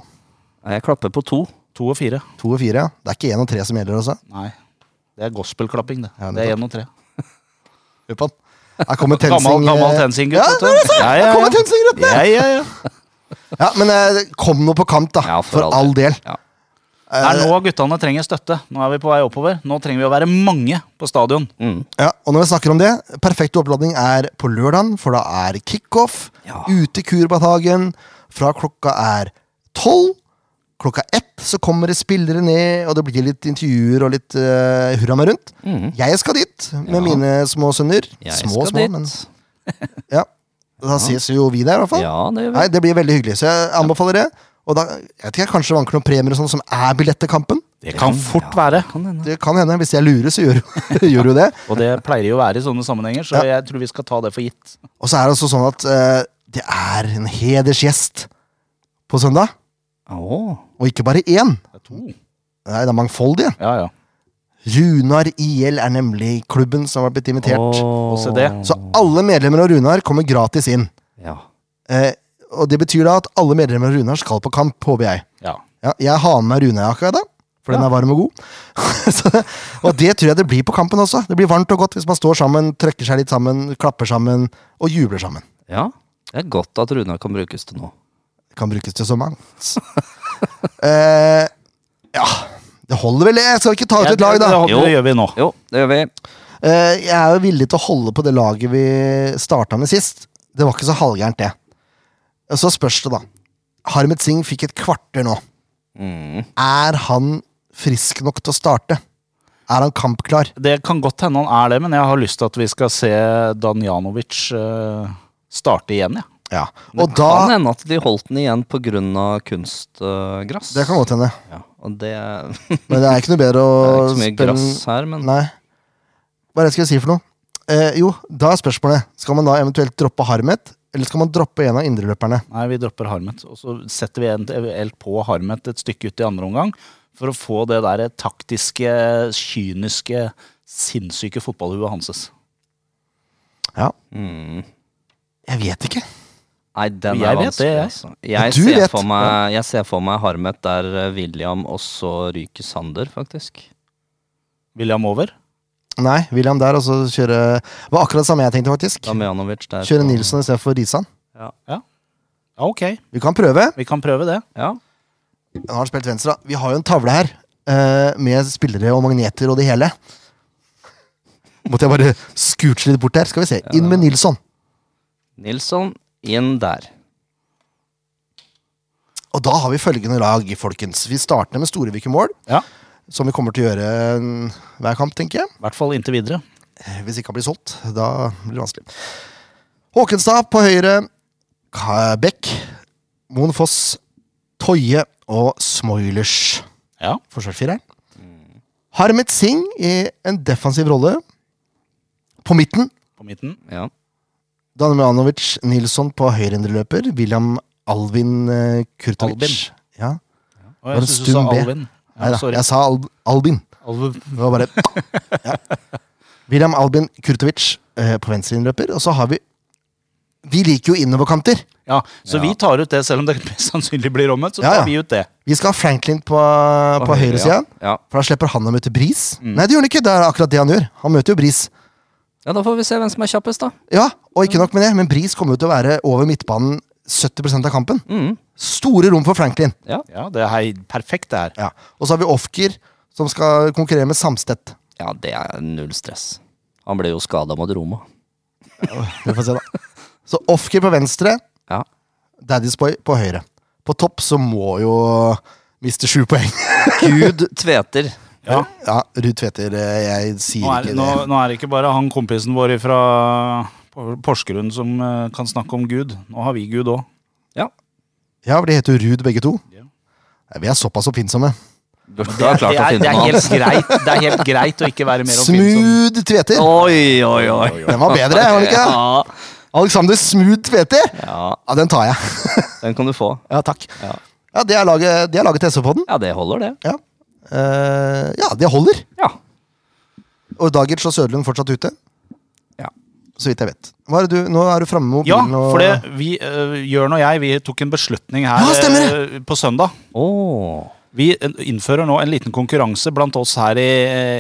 S2: Jeg klapper på to.
S3: to og fire.
S1: To og fire? ja. Det er ikke én og tre som gjelder, altså?
S3: Nei, det er gospelklapping, det.
S1: Ja,
S3: det er én og tre.
S1: Hør på den. Her kommer tensing.
S3: Gammel, gammel
S1: eh,
S3: TenSing-gutt.
S1: Ja,
S3: vet du.
S1: det er det
S3: Ja, ja,
S1: Her kommer
S3: ja.
S1: tensingrettene!
S3: Ja, ja, ja.
S1: Ja, men eh, kom nå på kamp, da.
S2: Ja,
S1: for, all del.
S2: Ja.
S3: Det er nå guttene trenger støtte. Nå er vi på vei oppover. Nå trenger vi å være mange på stadion.
S2: Mm.
S1: Ja, og når vi snakker om det, perfekt oppladning er på lørdagen, for da er kickoff
S2: Ja.
S1: ute i Kurbadhagen. Fra klokka er tolv. Klokka ett så kommer det spillere ned, og det blir litt intervjuer og litt eh, hurra meg rundt.
S2: Mhm.
S1: Jeg skal dit med
S2: Ja.
S1: mine små sønner.
S2: Jeg
S1: små,
S2: skal
S1: små,
S2: dit.
S1: men ja. Da ses jo vi der, i hvert fall.
S2: Ja, det gjør vi.
S1: Nei, Det blir veldig hyggelig, så jeg anbefaler det. Og da, jeg vet ikke, Kanskje det vanker noen premier og sånn som er billett til kampen?
S3: Det kan fort være.
S2: Kan hende.
S1: Det kan hende. Hvis jeg lurer, så gjør, gjør jo det.
S3: Og det pleier jo å være i sånne sammenhenger, så jeg tror vi skal ta det for gitt.
S1: Og så er det også sånn at eh, det er en hedersgjest på søndag.
S2: Åh.
S1: Og ikke bare én.
S3: Det er to.
S1: Nei, det er mangfoldige.
S3: Ja, ja.
S1: Runar IL er nemlig klubben som har blitt invitert.
S2: Åh.
S3: Og se det.
S1: Så alle medlemmer av Runar kommer gratis inn.
S2: Ja.
S1: Eh, og det betyr da at alle medlemmer av Runar skal på kamp, håper jeg.
S3: ja.
S1: Ja, jeg har med meg Runar-jakka i dag, for den er varm og god. så, og det tror jeg det blir på kampen også. Det blir varmt og godt hvis man står sammen, trøkker seg litt sammen, klapper sammen og jubler sammen.
S2: ja. Det er godt at Runar kan brukes til noe.
S1: kan brukes til så mangt. Eh, ja, det holder vel, det. Jeg skal ikke ta ut
S3: Ja,
S1: et lag, da.
S3: Det, det, det gjør vi nå.
S2: Jo, det gjør vi.
S1: Eh, jeg er jo villig til å holde på det laget vi starta med sist. Det var ikke så halvgærent, det. Og Så spørs det, da. Harmet Singh fikk et kvarter nå.
S2: Mm.
S1: Er han frisk nok til å starte? Er han kampklar?
S3: Det kan godt hende han er det, men jeg har lyst til at vi skal se Danjanovic eh, starte igjen, jeg. Ja.
S1: Ja.
S2: Det
S1: Og
S2: kan
S1: da
S2: hende at de holdt den igjen pga. kunstgress.
S1: Det kan godt hende.
S2: Ja, og det er,
S1: Men det er ikke noe bedre
S2: det
S1: å
S2: er ikke så mye
S1: spille
S2: gress her, men
S1: Nei. Hva er det jeg skal si for noe? Eh, jo, da er spørsmålet Skal man da eventuelt droppe Harmet, eller skal man droppe en av indreløperne?
S3: Nei, vi dropper Harmet. Og så setter vi eventuelt på Harmet et stykke ut i andre omgang for å få det der taktiske, kyniske, sinnssyke fotballhuet hanses.
S1: Ja,
S2: mm.
S1: jeg vet ikke.
S2: Nei, den
S3: Jeg
S2: er
S3: vet
S2: vanskelig,
S3: det, jeg.
S2: altså. Jeg,
S1: Du
S2: ser
S1: vet.
S2: For meg, jeg ser for meg Harmet der eh, William, og så ryker Sander, faktisk.
S3: William over?
S1: Nei, William der, og så kjøre Det var akkurat det samme jeg tenkte, faktisk.
S2: Damjanovic der.
S1: Kjøre
S2: på-
S1: Nilsson istedenfor Risan.
S3: Ja, ok.
S1: Vi kan prøve.
S3: Vi kan prøve det.
S2: Ja.
S1: Han har han spilt venstre. da. Vi har jo en tavle her eh, med spillere og magneter og det hele. Måtte jeg bare scooche litt bort der? Skal vi se. Inn med Nilsson.
S2: Nilsson inn der.
S1: Og da har vi følgende lag, folkens. Vi starter med Storevik i mål,
S3: Ja.
S1: som vi kommer til å gjøre eh, hver kamp, tenker jeg.
S3: I hvert fall inntil videre.
S1: Hvis ikke han blir solgt, da blir det vanskelig. Håkenstad på høyre. Ka- Beck, Moen Foss, Toje og Smoilers.
S3: Ja.
S1: Forsvarsfireren. Harmet Singh i en defensiv rolle. På midten.
S3: På midten.
S2: Ja.
S1: Danjanovic Nilsson på høyre indreløper. William Alvin eh, Kurtovic. Ja.
S3: Og
S1: Var det
S3: jeg synes du sa
S1: stum B?
S3: Alvin. Ja,
S1: Nei da,
S3: sorry.
S1: jeg sa Al Albin.
S3: Alvin.
S1: Det var bare ja. William Albin Kurtovic eh, på venstre innløper, og så har vi Vi liker jo innoverkanter.
S3: Ja, så vi tar ut det, selv om det mest sannsynlig blir omvendt. Så
S1: Ja,
S3: tar
S1: ja.
S3: vi ut det.
S1: Vi skal ha Franklin på, på,
S2: På høyre,
S1: høyresida,
S2: Ja. Mm. ja.
S1: for da slipper han å møte Bris. Nei, det gjør han ikke. Det er akkurat det han gjør. Han møter jo Bris.
S2: Ja, da får vi se hvem som er kjappest, da.
S1: Ja, og ikke nok med det, men Bris kommer jo til å være over midtbanen 70 av kampen.
S2: Mm.
S1: Store rom for Franklin.
S3: Ja, det er hei- perfekt, det her.
S1: Ja. Og så har vi Ofker, som skal konkurrere med Samstedt.
S2: Ja, det er null stress. Han ble jo skada mot Roma.
S1: Vi får se, da. Så Ofker på venstre,
S2: Ja.
S1: Daddy's Boy på høyre. På topp så må jo miste sju poeng.
S2: Gud tveter.
S3: Ja.
S1: Ja, Ruud Tveter, eh, jeg sier
S3: Nå er,
S1: ikke
S3: nå,
S1: det.
S3: nå er det ikke bare han kompisen vår fra Porsgrunn som eh, kan snakke om Gud. Nå har vi Gud òg.
S1: Ja, for de heter jo Ruud begge to.
S3: Ja.
S1: Nei, Vi er såpass oppfinnsomme.
S2: Burde ha klart å finne noe annet.
S3: greit, det er helt greit å ikke være
S1: Smooth Tveter!
S2: Oi, oi, oi.
S1: Den var bedre, var den ikke?
S2: Ja.
S1: Alexander Smooth Tveter!
S2: ja,
S1: Ja, den tar jeg.
S2: den kan du få.
S1: Ja, takk.
S2: Ja.
S1: Ja, Det er laget, det er laget til SV-podden.
S2: Ja, det holder, det.
S1: Ja. Eh, ja, det holder.
S2: Ja.
S1: Og Dagic og Søderlund fortsatt ute.
S2: Ja.
S1: Så vidt jeg vet. Hva er det du, nå er du framme med
S3: Ja,
S1: mobilen og
S3: for det vi, uh, Jørn og jeg, vi tok en beslutning her
S1: Ja, stemmer det!
S3: eh, på søndag.
S2: Åh.
S3: Vi eh, innfører nå en liten konkurranse blant oss her i,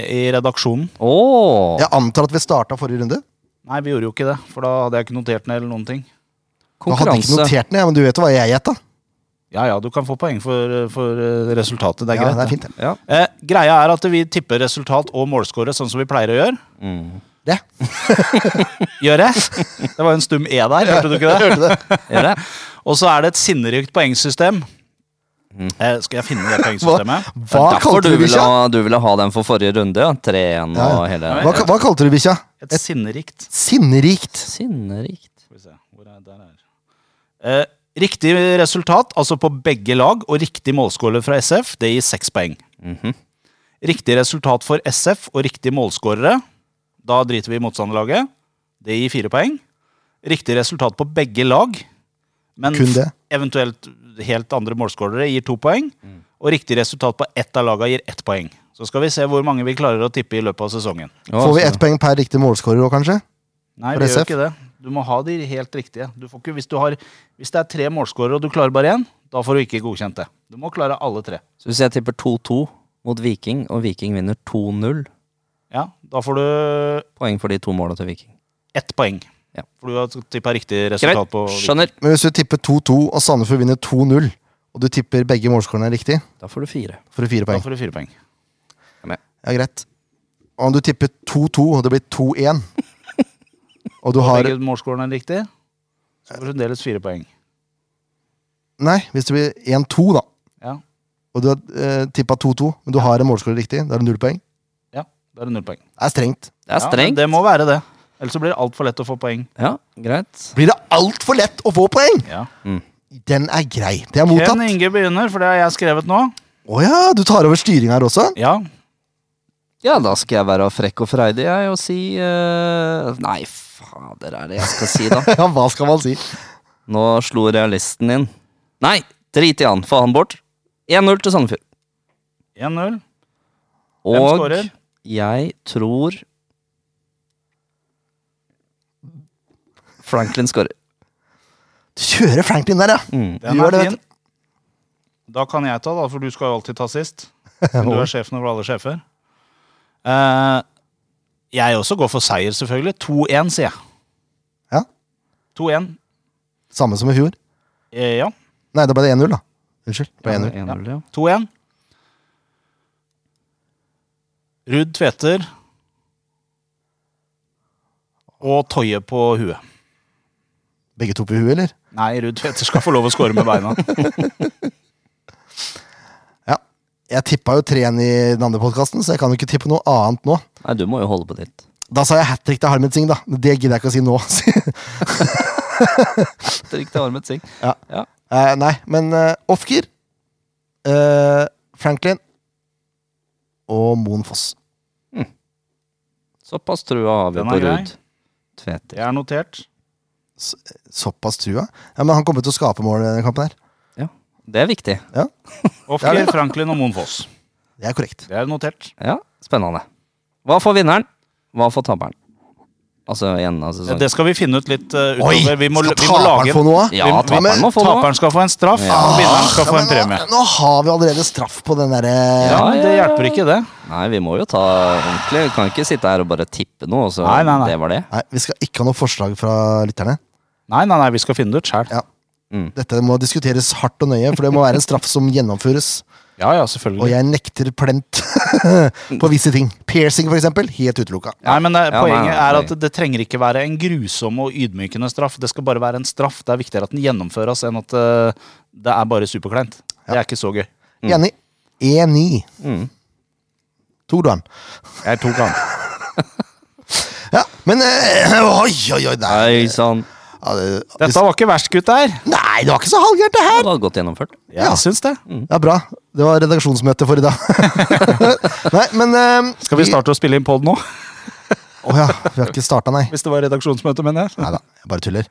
S3: i redaksjonen.
S2: Åh.
S1: Jeg antar at vi starta forrige runde.
S3: Nei, vi gjorde jo ikke det, for da hadde jeg ikke notert ned eller noen
S1: Nå
S3: ting.
S1: hadde jeg ikke
S2: Konkurranse.
S1: notert den, jeg, men du vet jo hva jeg gjetta.
S3: Ja ja, du kan få poeng for, eh, for eh, resultatet. Det er
S1: Ja,
S3: greit.
S1: det er
S3: det.
S1: fint, det.
S2: Ja.
S3: Eh, greia er at vi tipper resultat og målscorer sånn som vi pleier å gjøre.
S2: Mm.
S1: det.
S3: Gjør jeg? Det var jo en stum E der, hørte du ikke det?
S1: Hørte det?
S2: Er det?
S3: Og så er det et sinnerykt poengsystem. Eh, skal jeg finne det poengsystemet?
S1: Mm. Hva
S2: Derfor
S1: kalte du
S2: ville
S1: bikkja?
S2: ha- Du ville ha den for forrige runde, ja. 3-1
S1: Ja,
S2: og hele
S1: Hva, ka- hva kalte du bikkja?
S3: Et sinnerikt
S1: Sinnerikt.
S2: Sinnerikt.
S3: Skal vi se, hvor er der er. Eh, riktig resultat, altså på begge lag, og riktig målscorer fra SF, det gir seks poeng.
S2: Mhm.
S3: Riktig resultat for SF og riktig målscorere, da driter vi i motstanderlaget. Det gir fire poeng. Riktig resultat på begge lag, men
S1: Kun det.
S3: eventuelt helt andre målscorere gir to poeng. Og riktig resultat på ett av laga gir ett poeng. Så skal vi se hvor mange vi klarer å tippe i løpet av sesongen.
S1: Får vi ett poeng per riktig målskårer òg, kanskje?
S3: Nei,
S1: For
S3: vi gjør
S1: SF?
S3: ikke det. Du må ha de helt riktige. Du får ikke, hvis, du har, hvis det er tre målskårere og du klarer bare én, da får du ikke godkjent det. Du må klare alle tre.
S2: Så hvis jeg tipper 2-2 mot Viking, og Viking vinner 2-0
S3: Ja, Da får du
S2: Poeng for de to måla til Viking.
S3: ett poeng.
S2: Ja.
S3: For du har tippa riktig resultat
S2: Greit.
S3: på
S2: Skjønner.
S1: Men hvis du tipper 2-2 og Sandefjord vinner 2-0, og du tipper begge målskårene er riktig,
S2: Da får du fire.
S1: får du fire
S3: Da
S1: poeng.
S3: får du fire poeng.
S1: Ja, greit. Og om du tipper 2-2, og det blir 2-1, og du har
S3: Begge målskårene er riktig, så får du fremdeles fire poeng.
S1: Nei, hvis det blir 1-2, da.
S3: Ja.
S1: Og du har eh, tippa 2-2, men du har en målskårer riktig, da er det null poeng.
S3: Ja, da er det null poeng.
S1: Det er strengt.
S2: Det er
S3: Ja,
S2: strengt.
S3: det må være det. Ellers så blir det altfor lett å få poeng.
S2: Ja, greit.
S1: Blir det altfor lett å få poeng?!
S3: Ja.
S1: Den er grei. Det er
S3: Ken
S1: mottatt. Å
S3: Inge begynner, for det har jeg skrevet nå.
S1: ja, du tar over styringa her også?
S3: Ja,
S2: Ja, da skal jeg være frekk og freidig, jeg, og si eh, Nei, fader, er det jeg skal si, da?
S1: Ja, hva skal man si?
S2: Nå slo realisten inn. Nei, drit i han. Få han bort. 1-0 til Sandefjord.
S3: 1-0. Hvem
S2: Og
S3: skårer?
S2: jeg tror Franklin skårer.
S1: Du kjører Franklin der, ja.
S2: Mm.
S3: Den
S1: Gjør
S3: er
S1: det,
S3: fin.
S1: vet
S3: Da kan jeg ta, da, for du skal jo alltid ta sist. Men du er sjefen over alle sjefer. Eh, jeg også går for seier, selvfølgelig. 2-1, sier jeg.
S1: Ja.
S3: 2-1.
S1: Samme som i fjor.
S3: Eh, ja.
S1: Nei, da ble det 1-0, da. Unnskyld. Det ble 1-0.
S2: 1-0, ja.
S3: 2-1. Ruud Tveter og Toje på huet.
S1: Begge to på huet, eller?
S3: Nei, Ruud Tveter skal få lov å score med beina.
S1: Ja. Jeg tippa jo 3-1 i den andre podkasten, så jeg kan jo ikke tippe noe annet nå.
S2: Nei, du må jo holde på ditt.
S1: Da sa jeg hat trick til Harmet Singh, da. Men Det gidder jeg ikke å si nå.
S2: Riktig armet sing.
S1: Eh, nei, men uh, Ofker, eh, Franklin og Moen Foss.
S2: Såpass trua har vi
S3: Den
S2: på
S3: er grei.
S2: Ruud. Tveter.
S3: Det er notert.
S1: Såpass trua. Ja, Men han kommer til å skape mål i denne kampen her.
S2: Det er viktig.
S3: Ofker, Franklin og Moen Foss.
S1: Det er korrekt.
S3: Det er notert.
S2: Ja, Spennende. Hva får vinneren? Hva får taperen? Altså i enden av sesongen.
S3: Det skal vi finne ut litt eh,
S1: Oi!
S3: utover. Vi må,
S1: skal
S3: vi må lage
S1: taperen få noe?
S2: Ja,
S3: vi-
S2: taperen
S1: men
S2: må få noe.
S3: Taperen skal få en straff, og vinneren skal få en premie.
S1: eh, Nå, nå har vi allerede straff på den eh, derre
S3: Ja, men Det
S2: ja, ja.
S3: hjelper ikke, det.
S2: Nei, vi må jo ta ordentlig. Vi kan ikke sitte her og bare tippe noe, og så
S3: Nei, nei, nei.
S2: det var det.
S1: Nei, vi skal ikke ha noe forslag fra lytterne.
S3: Nei, nei, nei, vi skal finne det ut sjæl.
S1: Ja. Dette må diskuteres hardt og nøye, for det må være en straff som gjennomføres.
S3: Ja, ja,
S1: Og
S3: selvfølgelig.
S1: jeg nekter plent på visse ting. Piercing, for eksempel. Helt utelukka.
S3: Nei, men det,
S2: Ja, nei,
S3: Poenget
S2: nei,
S3: er
S2: nei.
S3: at det trenger ikke være en grusom og ydmykende straff. Det skal bare være en straff. Det er viktigere at den gjennomføres enn at eh, det er bare superkleint. Det er ikke så gøy.
S1: Enig. E Enig.
S2: Mm.
S1: Tok du han?
S3: Jeg tok han.
S1: Ja, men eh, Oi, oi, oi. Nei,
S2: Nei, sann.
S1: ja, det, hvis,
S3: Dette var ikke verst, gutter.
S1: nei det var ikke så halvgærent, det
S2: Det
S1: her!
S2: var godt gjennomført.
S1: Ja.
S3: Jeg syns det.
S2: Mm.
S1: Ja, Bra. Det var redaksjonsmøte for i dag. nei, men eh,
S3: Skal vi starte å spille inn pod nå?
S1: Å ja, vi har ikke starta, nei.
S3: Hvis det var redaksjonsmøte, mener jeg.
S1: Nei da, jeg bare tuller.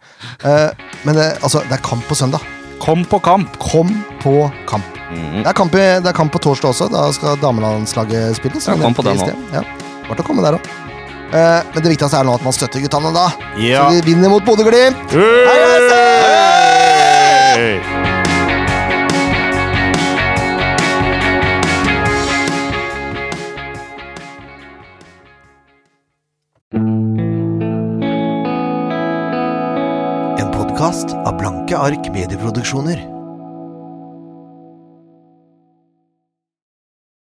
S1: Eh, men eh, altså, det er kamp på søndag.
S3: Kom på kamp!
S1: Kom på kamp.
S2: Mhm.
S1: Det er kamp, i, det er kamp på torsdag også. Da skal damelandslaget spille.
S2: Ja, kom på den også.
S1: Ja, Bare til å komme der òg. men det viktigste er nå at man støtter guttene, da.
S3: Ja.
S1: Så de vinner mot Bodø-Glimt!
S3: Hei!
S1: En podkast av Blanke ark medieproduksjoner.